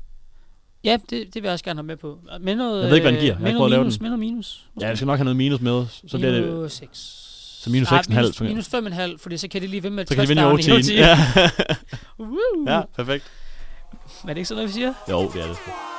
Ja, det, det vil jeg også gerne have med på. Og Med noget, Jeg ved ikke, hvad den giver. Jeg øh, har Med ikke noget prøvet at lave minus, den. med noget minus. Ja, jeg skal nok have noget minus med, så bliver det, minus 6. Så minus 6,5, tror jeg. Minus, minus 5,5, fordi så kan de lige vinde med et så kan de vinde i touchdown i OT'en. OT. Ja, [LAUGHS] Woo! ja, perfekt. Men er det ikke sådan noget, vi siger? Jo, det er det.